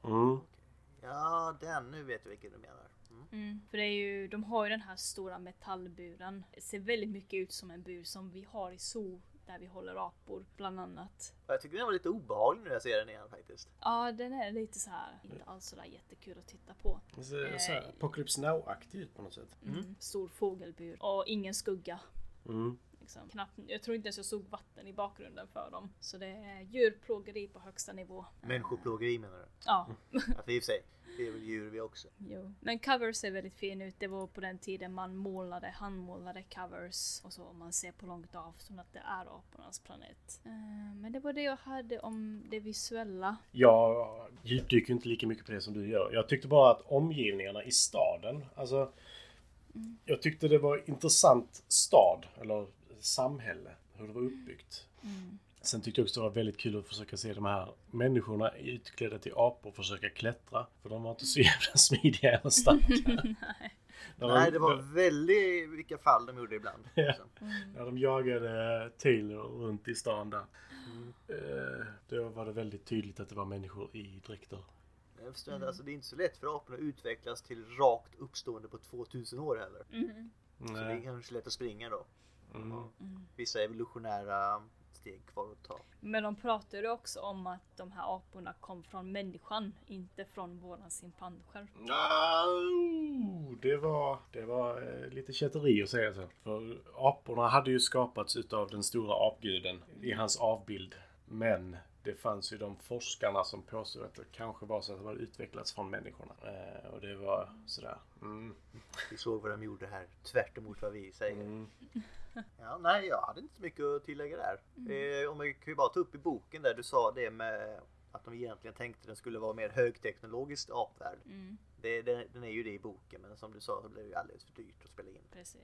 S3: Mm.
S2: Ja, den. Nu vet jag vilken du menar. Mm.
S1: För det är ju, de har ju den här stora metallburen. Det ser väldigt mycket ut som en bur som vi har i zoo där vi håller apor bland annat.
S2: Och Jag tycker den var lite obehaglig när jag ser den igen faktiskt.
S1: Ja, den är lite så här, inte alls sådär jättekul att titta på.
S3: Det ser så här Apocalypse Now-aktig ut på något sätt.
S1: Mm. Stor fågelbur och ingen skugga.
S3: Mm.
S1: liksom, knappt, jag tror inte ens jag såg vatten i bakgrunden för dem. Så det är djurplågeri på högsta nivå.
S2: Människoplågeri menar du?
S1: Ja,
S2: Att i och för sig, det är väl djur vi också.
S1: jo. Men covers ser väldigt fin ut. Det var på den tiden man målade, handmålade covers och så. Om man ser på långt avstånd att det är apornas planet. Eh, Men det var det jag hade om det visuella.
S3: Jag djupdyker inte lika mycket på det som du gör. Jag tyckte bara att omgivningarna i staden, alltså jag tyckte det var intressant stad, eller samhälle, hur det var uppbyggt. Sen tyckte jag också det var väldigt kul att försöka se de här människorna utklädda till apor försöka klättra. För de var inte så jävla smidiga eller starka.
S1: Nej.
S3: När de-
S2: Nej, det var väldigt vilka fall de gjorde ibland. liksom.
S3: När de jagade Taylor runt i stan där. Eh, Då var det väldigt tydligt att det var människor i dräkter.
S2: Jag förstår inte, alltså, det är inte så lätt för aporna att utvecklas till rakt uppstående på 2000 år heller.
S1: Mm.
S2: Så det är
S3: Nej.
S2: kanske lätt att springa då.
S3: Mm.
S2: Vissa evolutionära steg kvar att ta.
S1: Men de pratade också om att de här aporna kom från människan, inte från våran simpanser.
S3: No! Det var, det var eh, lite kätteri att säga så. För aporna hade ju skapats utav den stora apguden i hans avbild. Men det fanns ju de forskarna som påstod att det kanske var så att det hade utvecklats från människorna. Eh, och det var sådär. Mm.
S2: Vi såg vad de gjorde här, tvärt emot vad vi säger.
S3: Mm.
S2: Ja, nej, jag hade inte så mycket att tillägga där.
S1: Mm.
S2: Eh, om jag kan ju bara ta upp i boken där du sa det med att de egentligen tänkte den skulle vara mer högteknologiskt apvärld.
S1: Mm,
S2: Det, det, den är ju det i boken, men som du sa så blev det ju alldeles för dyrt att spela in.
S1: precis.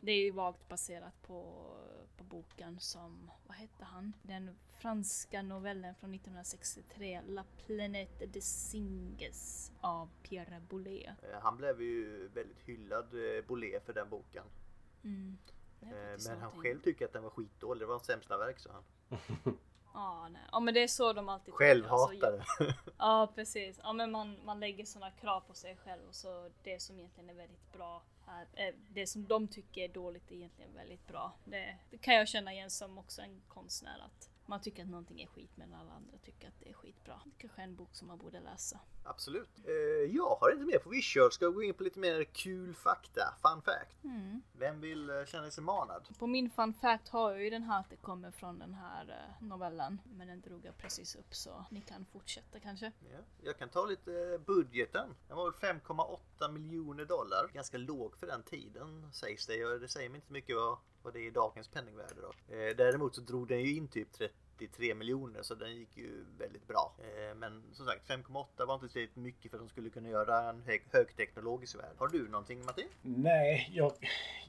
S1: Det är ju vagt baserat på, på boken som, vad hette han? Den franska novellen från 1963, La planète des singes av Pierre Boulez.
S2: Eh, han blev ju väldigt hyllad, eh, Bolé, för den boken.
S1: Mm. Det är
S2: Eh,
S1: faktiskt
S2: men han
S1: någonting.
S2: själv tycker att den var skitdålig, det var hans sämsta verk sa han.
S1: Ja, nej. ja, men det är så de alltid alltså,
S2: Självhatare.
S1: Ja precis, ja, men man, man lägger sådana krav på sig själv och så det som egentligen är väldigt bra är, eh, det som de tycker är dåligt är egentligen väldigt bra. Det, det kan jag känna igen som också en konstnär att man tycker att någonting är skit men alla andra tycker att det är skitbra. Det kanske är en bok som man borde läsa.
S2: Absolut. Eh, jag har inte mer på Visual. Ska jag gå in på lite mer kul fakta? Fun fact. Vem vill eh, känna sig manad?
S1: Mm. På min fun fact har jag ju den här att det kommer från den här eh, novellen men den drog jag precis upp så ni kan fortsätta kanske.
S2: Ja. Jag kan ta lite eh, budgeten. Den var väl 5,8 miljoner dollar. Ganska låg för den tiden sägs det. Ja, Det säger mig inte mycket vad, vad det är i dagens penningvärde. Då. Eh, däremot så drog den ju in typ 33 miljoner så den gick ju väldigt bra. Eh, men som sagt 5,8 var inte tillräckligt mycket för att de skulle kunna göra en hög, högteknologisk värld. Har du någonting Martin?
S3: Nej, jag,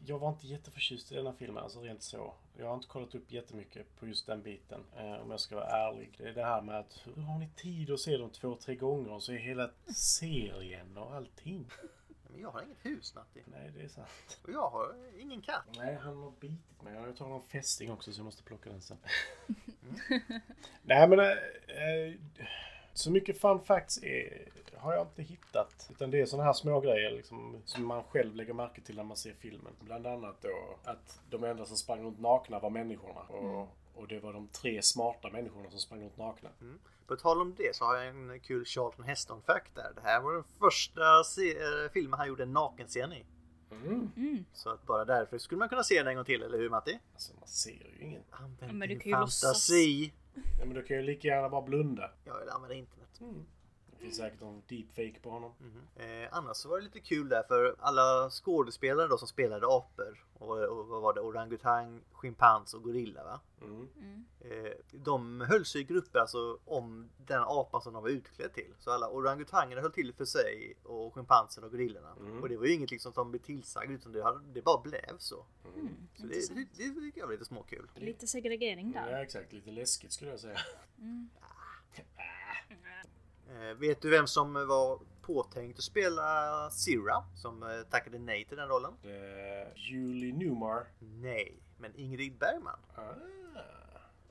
S3: jag var inte jätteförtjust i den här filmen, alltså rent så. Jag har inte kollat upp jättemycket på just den biten, eh, om jag ska vara ärlig. Det är det här med att hur har ni tid att se dem två, tre gånger och så är hela serien och allting.
S2: Men jag har inget hus Matti.
S3: Nej, det är sant.
S2: Och jag har ingen katt.
S3: Nej, han har bitit mig. Jag tar någon fästing också så jag måste plocka den sen. Mm. Nej, men... eh, eh, så mycket fun facts är, har jag inte hittat. Utan det är sådana här små grejer liksom, som man själv lägger märke till när man ser filmen. Bland annat då att de enda som sprang runt nakna var människorna. Och, och det var de tre smarta människorna som sprang runt nakna.
S2: På tal om det så har jag en kul Charlton Heston-fact där. Det här var den första se- eh, filmen han gjorde en nakenscen i.
S3: Mm.
S2: Så att bara därför skulle man kunna se den en gång till, eller hur Matti?
S3: Alltså man ser ju ingen.
S2: Använd
S1: Ja, men du
S2: din
S1: kan ju
S2: fantasi!
S3: Ja, men då kan jag lika gärna bara blunda.
S2: Ja, eller använda internet.
S3: Mm. Det finns säkert någon deepfake på honom.
S2: Eh, annars så var det lite kul där för alla skådespelare då som spelade apor. Och, och vad var det? Orangutang, schimpans och gorilla va?
S3: Mm.
S2: Eh, de höll sig i grupper alltså om den apan som de var utklädd till. Så alla orangutangerna höll till för sig och schimpansen och gorillorna. Och det var ju inget liksom som blev tillsagd utan det, hade, det bara blev så. så det, det, det tycker jag var lite småkul.
S1: Lite segregering där. Mm.
S3: Ja, exakt. Lite läskigt skulle jag säga.
S2: Eh, vet du vem som var påtänkt att spela Sira som eh, tackade nej till den rollen?
S3: Eh, Julie Newmar.
S2: Nej, men Ingrid Bergman.
S3: Ah.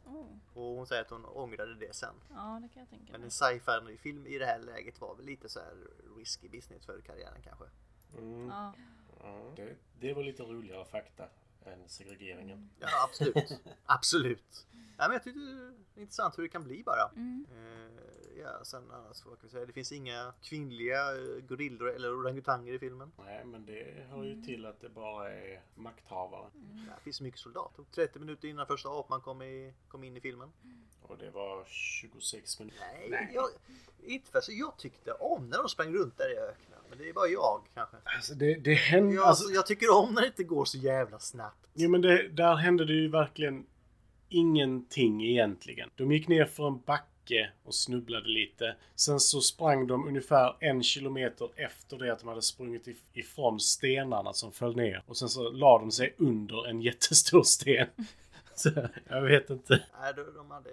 S1: Oh,
S2: Och hon säger att hon ångrade det sen.
S1: ja det kan jag tänka
S2: Men
S1: mig.
S2: en sci-fi film i det här läget var väl lite så här risky business för karriären kanske.
S3: Mm.
S1: Ja.
S3: Ja. Det, det var lite roligare fakta. än segregeringen.
S2: Ja, absolut. absolut. Ja, men jag tyckte det är intressant hur det kan bli bara.
S1: Mm.
S2: Eh, ja, sen annars, vad kan vi säga? Det finns inga kvinnliga eh, gorillor eller orangutanger i filmen.
S3: Nej, men det hör ju till att det bara är makthavare.
S2: Ja, det finns mycket soldater. 30 minuter innan första apan kom, i, kom in i filmen.
S3: Och det var 26 minuter.
S2: Nej, jag, inte för, så jag tyckte om när de sprang runt där i öknen. Men det är bara jag kanske.
S3: Alltså det, det hände...
S2: Jag, alltså, Mm. jag tycker om när det inte går så jävla snabbt.
S3: Jo, men det, där hände det ju verkligen ingenting egentligen. De gick ner för en backe och snubblade lite. Sen så sprang de ungefär en kilometer efter det att de hade sprungit if- ifrån stenarna som föll ner. Och sen så la de sig under en jättestor sten. Så, jag vet inte.
S2: Nej, de, de hade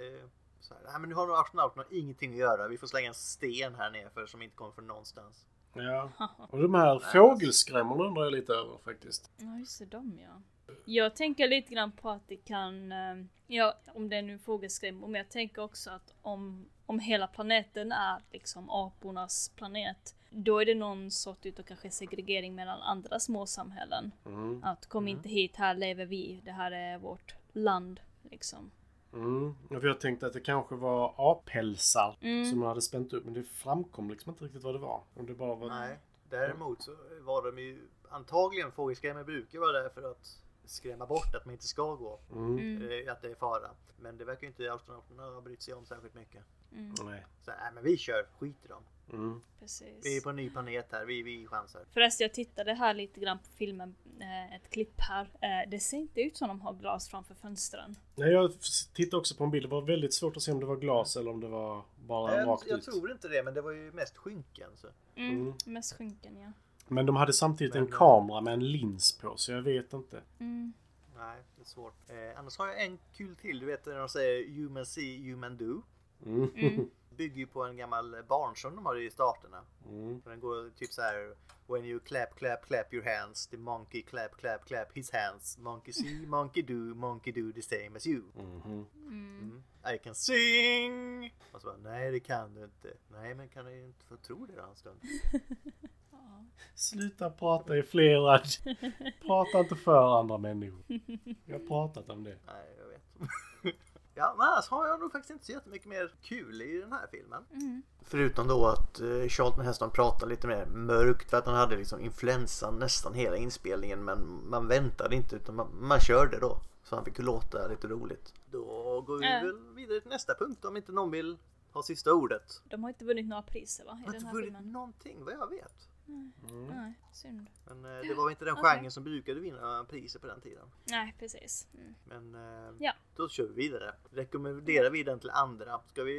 S2: så här, Nej, men nu har nog astronauterna ingenting att göra. Vi får slänga en sten här nerför som inte kommer från någonstans.
S3: Ja. Och de här fågelskrämmorna undrar jag lite över faktiskt.
S1: Ja, just det, de ja. Jag tänker lite grann på att det kan, eh, ja, om det är nu fågelskrämmor, men jag tänker också att om, om hela planeten är liksom apornas planet, då är det någon sorts utav kanske segregering mellan andra små samhällen.
S3: Mm.
S1: Att kom inte hit, här lever vi, det här är vårt land, liksom.
S3: Mm. Ja, för Jag tänkte att det kanske var apälsar
S1: Mm.
S3: som man hade spänt upp. Men det framkom liksom inte riktigt vad det var. Om det bara var...
S2: Nej, däremot så var de ju antagligen fågelskrämmor brukar vara där för att skrämma bort att man inte ska gå.
S3: Mm.
S1: Mm.
S2: eh, Att det är fara. Men det verkar ju inte astronauterna ha brytt sig om särskilt mycket.
S1: Mm,
S3: Nej.
S2: Så nej, men vi kör. Skit i dem.
S3: Mm.
S2: Vi är
S1: precis.
S2: på en ny planet här. Vi, vi chansar.
S1: Förresten, jag tittade här lite grann på filmen, eh, ett klipp här. Eh, Det ser inte ut som de har glas framför fönstren.
S3: Nej, jag f- tittade också på en bild. Det var väldigt svårt att se om det var glas eller om det var bara
S2: Nej, Jag,
S3: rakt
S2: jag
S3: ut.
S2: tror inte det, men det var ju mest skynken. Så.
S1: Mm.
S3: Mm.
S1: Mest skynken, ja.
S3: Men de hade samtidigt en
S2: Men-
S3: kamera med en lins på, så jag vet inte.
S1: Mm.
S2: Nej, det är svårt. Eh, annars har jag en kul till. Du vet när de säger human see, human do.
S3: Mm.
S1: Mm.
S2: Bygger ju på en gammal barnsång de har i staterna.
S3: Mm.
S2: Och Den går typ så här. When you clap, clap, clap your hands. The monkey clap, clap, clap his hands. Monkey see, monkey do, monkey do the same as you.
S3: Mhm.
S2: Mm. I can sing! Och så bara, nej det kan du inte. Nej men kan du inte få tro det då en stund?
S3: Sluta prata i flera... prata inte för andra människor. Jag har pratat om det.
S2: Nej, jag vet. ja, men annars har jag nog faktiskt inte så jättemycket mer kul i den här filmen.
S1: Mm.
S2: Förutom då att eh, Charlton Heston pratade lite mer mörkt för att han hade liksom influensan nästan hela inspelningen men man väntade inte utan man, man körde då. Så han fick låta lite roligt. Då går vi
S1: Ja.
S2: väl vidare till nästa punkt om inte någon vill ha sista ordet.
S1: De har inte vunnit några priser va?
S2: Jag
S1: I
S2: har
S1: den
S2: inte
S1: här
S2: vunnit
S1: filmen?
S2: någonting vad jag vet.
S1: Nej, synd.
S2: Men eh, det var väl inte den
S1: Okej.
S2: genren som brukade vinna priser på den tiden.
S1: Nej, precis. Mm.
S2: Men eh,
S1: Ja.
S2: då kör vi vidare. Rekommenderar vi den till andra? Ska vi,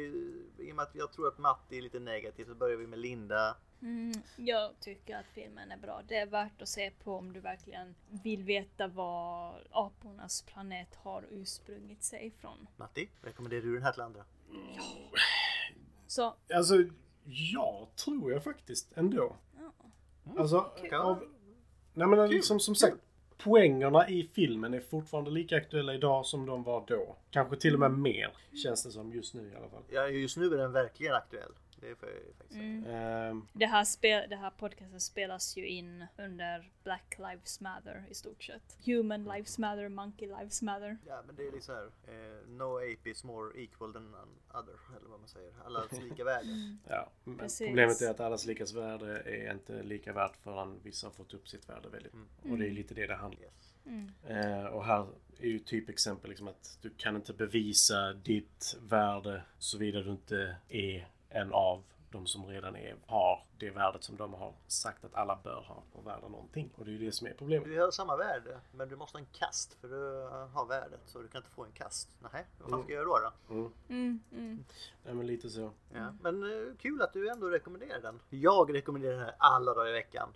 S2: I och med att jag tror att Matti är lite negativ så börjar vi med Linda.
S1: Mm, jag tycker att filmen är bra. Det är värt att se på om du verkligen vill veta var apornas planet har ursprungit sig ifrån.
S2: Matti, rekommenderar du den här till andra?
S1: Så,
S3: Alltså, ja, tror jag faktiskt ändå.
S1: ja.
S3: Alltså,
S2: Kul.
S3: av, nej men
S2: Kul,
S3: som, som sagt, poängerna i filmen är fortfarande lika aktuella idag som de var då. Kanske till och med mer, känns det som just nu i alla fall.
S2: Ja, just nu är den verkligen aktuell. Det får jag ju faktiskt säga.
S3: Ehm,
S1: Det här, spel, det här podcasten spelas ju in under Black Lives Matter i stort sett. Human Lives Matter, Monkey Lives Matter.
S2: Ja, men det är lite så här. Eh, no ape is more equal than other, eller vad man säger. Allas lika värde.
S3: ja, men
S1: Precis.
S3: problemet är att allas likas värde är inte lika värt förrän vissa har fått upp sitt värde väldigt.
S2: Mm.
S3: Och det är lite det det handlar om.
S2: Yes.
S3: Eh, och här är ju typexempel liksom att du kan inte bevisa ditt värde såvida du inte är en av de som redan är, har det värdet som de har sagt att alla bör ha och värda någonting. Och det är ju det som är problemet.
S2: Du har samma värde, men du måste ha en kast för att ha värdet. Så du kan inte få en kast. Nej, vad fan ska jag göra då?
S1: Mm, mm.
S3: Nej men lite så.
S2: Ja, men eh, kul att du ändå rekommenderar den. Jag rekommenderar den här alla dagar i veckan.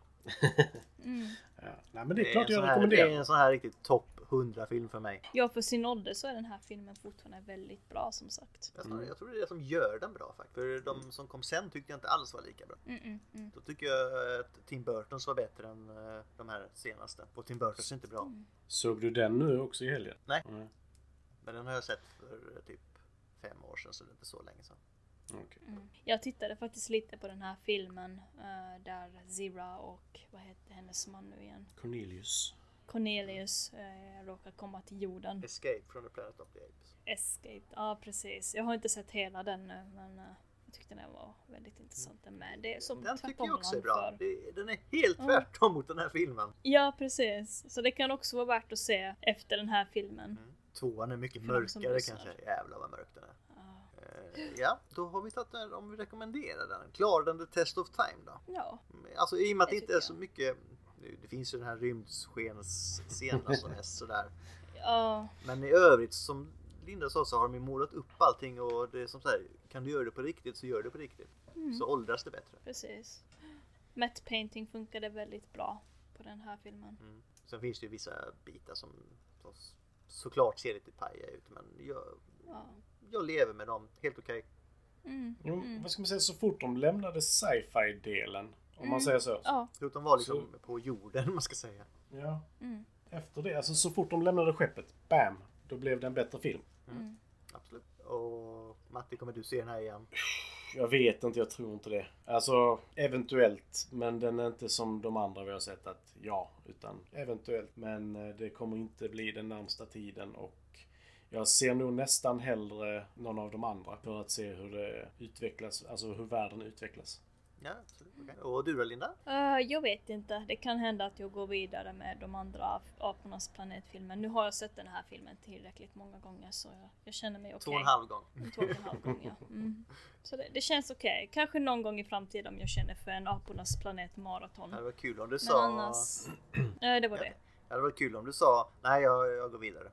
S1: mm.
S3: Ja. Nej men det är klart
S2: en
S3: jag
S2: sån här, det är
S3: rekommenderar.
S2: en sån här riktigt topp 100 film för mig.
S1: Ja, för sin ålder så är den här filmen fortfarande väldigt bra som sagt.
S2: Jag,
S3: Mm.
S2: jag tror det är det som gör den bra faktiskt. För de som kom sen tyckte jag inte alls var lika bra.
S1: Mm, mm, mm.
S2: Då tycker jag att Tim Burtons var bättre än eh, de här senaste. Och Tim Burtons är inte bra.
S1: Mm.
S3: Såg du den nu också i helgen?
S2: Nej.
S3: Mm.
S2: Men den har jag sett för eh, typ fem år sedan så det är inte så länge sedan.
S3: Okej.
S1: Jag tittade faktiskt lite på den här filmen eh, där Zira och vad heter hennes man nu igen?
S3: Cornelius.
S1: Cornelius eh, råkar komma till jorden.
S2: Escape from the Planet of the Apes.
S1: Escape, ja precis. Jag har inte sett hela den nu men eh, jag tyckte den var väldigt intressant den med. Det är som
S2: Den tycker jag också är
S1: tvärtom
S2: bra.
S1: för-
S2: Det- Den är helt
S1: Ja.
S2: tvärtom mot den här filmen.
S1: Ja precis, så det kan också vara värt att se efter den här filmen.
S2: Tvåan är mycket
S1: För de som
S2: mörkare
S1: lyssnar.
S2: kanske. Jävlar vad mörk den är.
S1: Ja.
S2: Eh, Ja, då har vi tagit den om vi rekommenderar den. Klarar den the test of time då?
S1: Ja,
S2: Mm, Alltså i och med att
S1: Det
S2: det inte
S1: tycker
S2: är så mycket. Det finns ju den här rymdskensscenen som är sådär.
S1: ja,
S2: Men i övrigt som Linda sa så har de ju målat upp allting och det är som så här, kan du göra det på riktigt så gör det på riktigt.
S1: Mm.
S2: Så åldras det bättre.
S1: precis. Matte painting funkade väldigt bra på den här filmen.
S2: Mm. Sen finns det ju vissa bitar som som såklart ser lite pajiga ut men jag,
S1: Ja.
S2: jag lever med dem helt okej.
S1: Mm.
S3: Jo, Vad ska man säga, så fort de lämnade sci-fi-delen, om man säger så.
S1: Mm. Ja,
S2: Förutom var liksom på jorden om man ska säga.
S3: Ja.
S1: Mm.
S3: Efter det, alltså så fort de lämnade skeppet, bam, då blev det en bättre film.
S2: Absolut. Och Matti kommer du se den här igen?
S3: Jag vet inte, jag tror inte det. Alltså, eventuellt. Men den är inte som de andra vi har sett att ja, utan eventuellt. Men eh, det kommer inte bli den närmsta tiden och jag ser nog nästan hellre någon av de andra för att se hur det utvecklas, alltså hur världen utvecklas.
S2: Ja, absolut. okej. Och du då Linda?
S1: Eh, jag vet inte. Det kan hända att jag går vidare med de andra ap- Apornas planetfilmen. Nu har jag sett den här filmen tillräckligt många gånger så jag, jag känner mig
S2: Två
S1: okej.
S2: och en halv gång.
S1: Två och en halv gång, ja. Mm. Så det, det känns okej. Kanske någon gång i framtiden om jag känner för en Apornas planet maraton.
S2: Det
S1: Men
S2: var kul om du sa...
S1: annars... Nej, det var det.
S2: Det hade varit kul om du sa nej, jag, jag går vidare.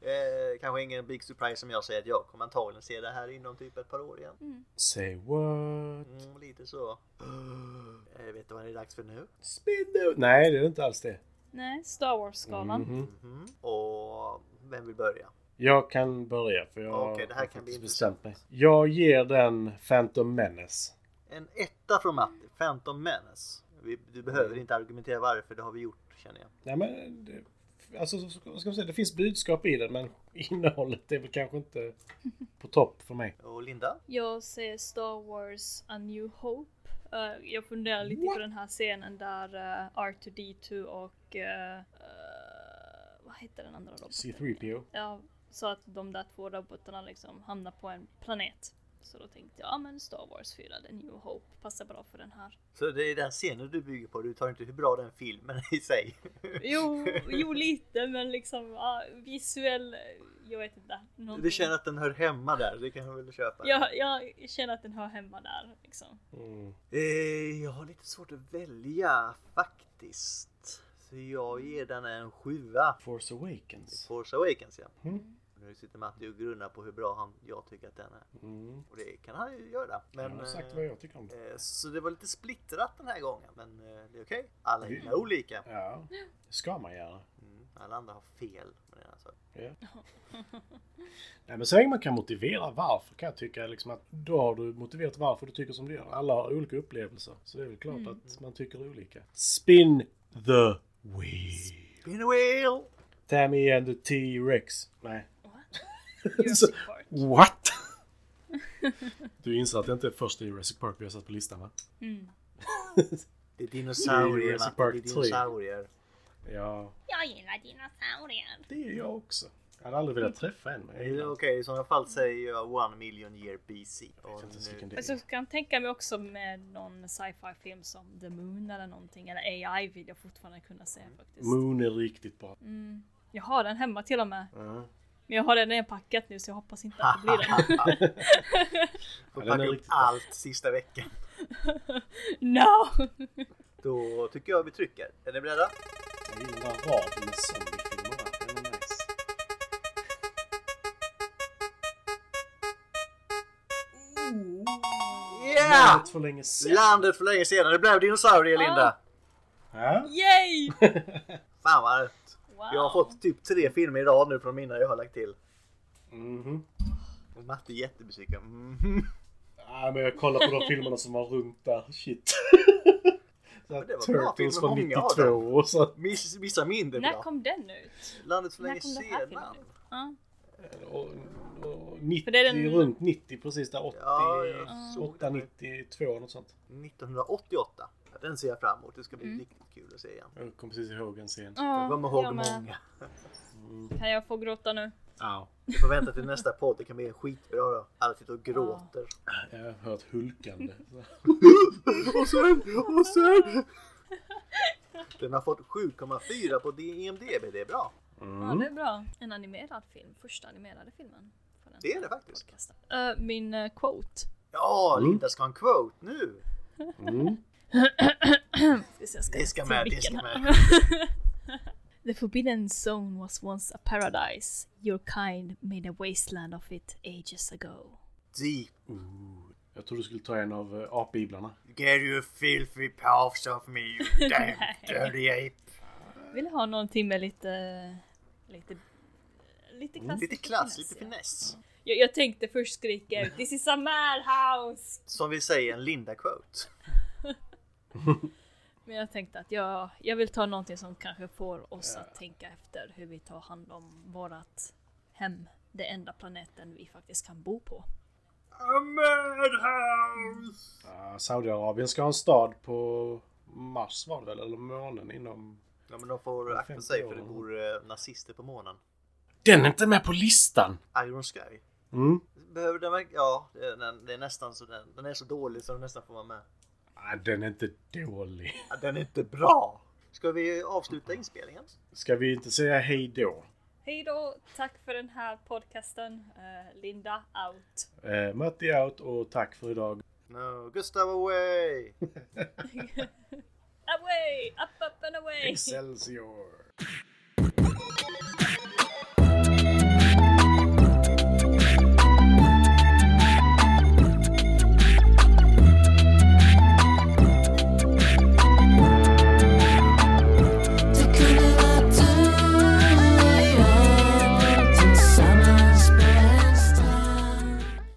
S2: eh, kanske ingen big surprise om jag säger att jag kommer antagligen se det här inom typ ett par år igen.
S1: Mm.
S3: Say what?
S2: Mm, lite så. Eh, vet du vad det är dags för nu?
S3: Spin the... Nej, det är inte alls det.
S1: Nej, Star Wars-skalan.
S3: Mhm.
S2: Mhm. Och vem vill börja?
S3: Jag kan börja för jag
S2: Okej, det här
S3: har
S2: kan
S3: faktiskt
S2: bli
S3: bestämt mig. Jag ger den Phantom Menace.
S2: En etta från Matti, Phantom Menace. Vi, du behöver inte argumentera varför, det har vi gjort känner jag.
S3: Nej men, det, alltså så- så- vad ska man säga, det finns budskap i den men innehållet är väl kanske inte på topp för mig.
S2: Och Linda?
S1: Jag ser Star Wars A New Hope. Eh, jag funderar lite på den här scenen där eh, R2D2 och... eh, eh, vad heter den andra roboten?
S3: C3PO.
S1: Ja, så att de där två robotarna liksom hamnar på en planet. Så då tänkte jag, ja men Star Wars 4, The New Hope, passar bra för den här.
S2: Så det är den scenen du bygger på, du tar inte hur bra den filmen är i sig.
S1: Jo, jo lite men liksom ja, visuell, jag vet inte. någonting.
S2: Du känner att den hör hemma där, det kan jag väl köpa.
S1: jag, jag känner att den hör hemma där liksom.
S3: Mm.
S2: Eh, jag har lite svårt att välja faktiskt. Så jag ger den en sjua.
S3: Force Awakens.
S2: Force Awakens ja.
S3: Mm.
S2: Nu sitter Matti och grunnar på hur bra han, jag tycker att den är.
S3: Mm.
S2: Och det kan han ju göra.
S3: Jag
S2: Men,
S3: har sagt
S2: eh,
S3: vad jag tycker om det.
S2: eh, så det var lite splittrat den här gången. Men eh, det är okej. Alla
S3: Mm.
S2: gillar olika.
S3: Ja, det ska man göra.
S2: Mm. Alla andra har fel. Men det är alltså.
S3: Ja. Nej, men så länge man kan motivera varför kan jag tycka liksom att då har du motiverat varför du tycker som du gör. Alla har olika upplevelser. Så det är väl klart att man tycker olika. Spin the wheel.
S2: Spin a wheel!
S3: Tammy and the T-Rex. Nej.
S1: Jurassic Park.
S3: What? Du inser att det inte är första Jurassic Park vi har satt på listan va?
S2: Det är dinosaurier
S3: Jurassic
S2: Matti. Det
S3: Park
S2: är
S3: 3.
S2: dinosaurier.
S3: Ja,
S1: Jag gillar dinosaurier.
S3: det är jag också. Jag hade aldrig velat träffa en men jag
S2: Eh, Okej,
S3: gillar
S2: i sådana fall säger jag one million year BC.
S3: Jag vet
S2: Och
S3: inte ens vilken
S2: nu,
S3: det
S1: Jag så
S3: är.
S1: kan tänka mig också med någon sci-fi film som The Moon eller någonting, eller AI vill jag fortfarande kunna se faktiskt.
S3: Moon är riktigt bra.
S2: Mm.
S1: Jag har den hemma till och med.
S3: Ja.
S1: Men jag har den nedpackad nu så jag hoppas inte att det blir den.
S2: får
S3: Ja, den är
S2: packa upp
S3: riktigt bra.
S2: allt sista veckan.
S1: No!
S2: Då tycker jag vi trycker. Är ni beredda?
S3: Jag gillar raden med zombiefilmer va? Den är
S2: Yeah!
S3: nice. Landet för länge sedan.
S2: Landet för länge sedan. Det blev dinosaurier Linda.
S3: Ja.
S1: Yay!
S2: Fan vad rätt.
S1: Wow.
S2: Jag har fått typ tre filmer i rad nu från mina jag har lagt till.
S3: Mhm.
S2: Och Matte är jättebesviken. Mhm.
S3: Ja, men jag kollar på de filmerna som var runt där. Shit. Så här,
S2: det var bra
S3: Turtles
S2: filmer,
S3: från
S2: många av
S3: 92 och så.
S2: Miss, vissa mindre
S1: När
S2: bra.
S1: kom den ut?
S2: Landet för
S1: När
S2: länge
S1: kom den här filmen
S2: sedan.
S1: ut? Ja.
S3: Och, och 90,
S1: För det är den-
S3: runt 90 precis där. 80,
S2: Ja, jag såg
S3: 8, 92 något sånt.
S2: 1988. Den ser jag fram emot. Det ska bli riktigt kul att se igen.
S3: Jag kommer precis ihåg en scen.
S1: Ja,
S2: Jag kommer ihåg
S1: Mm. jag med.
S2: många.
S1: Kan jag få gråta nu?
S3: Au.
S2: Vi får vänta till nästa podd. Det kan bli skitbra då. Alla sitter och gråter.
S3: Jag har hört hulkande.
S2: Och sen, och sen! Den har fått 7,4 på IMDB. Det är bra.
S3: Mm.
S2: Mm.
S1: Ja, det är bra. En animerad film. Första animerade filmen. på den
S2: Det är
S1: här
S2: det faktiskt.
S1: podcasten. Eh, min eh, quote.
S2: Ja, Linda ska ha en quote nu.
S3: Mm.
S1: Ska se, jag ska
S2: Det ska
S1: se
S2: med, det
S1: blicken
S2: ska
S1: här.
S2: med.
S1: The forbidden zone was once a paradise. Your kind made a wasteland of it ages ago.
S2: Deep.
S3: Ooh. Uh, Jag tror du skulle ta en av eh, apbiblarna.
S2: Get you filthy paws off me you damn dirty ape.
S1: Vill ha någonting med lite... Lite... Lite klass.
S2: Mm. Lite klass, lite
S1: ja.
S2: finess.
S1: Jag, jag tänkte först skrika ut This is a madhouse!
S2: Som vi säger, en Linda-quote.
S1: Men jag tänkte att jag, jag vill ta någonting som kanske får oss att tänka efter hur vi tar hand om vårat hem. Det enda planeten vi faktiskt kan bo på.
S2: A madhouse!
S3: Ah, Saudiarabien ska ha en stad på Mars var det väl? Eller månen inom...
S2: Ja men de får akta sig för det bor eh, nazister på månen.
S3: Den är inte med på listan!
S2: Iron Sky.
S3: Mm.
S2: Behöver den verk- Ja, det är, den, det är nästan så den, den är så dålig så den nästan får vara med.
S3: Ah, den är inte dålig.
S2: Ja, den är inte bra! Ska vi avsluta inspelningen?
S3: Ska vi inte säga hej då?
S1: Hej då! Tack för den här podcasten. Eh, Linda out.
S3: Eh, Matti out och tack för idag.
S2: No, Gustav away!
S1: away! Up, up and away!
S3: Excelsior!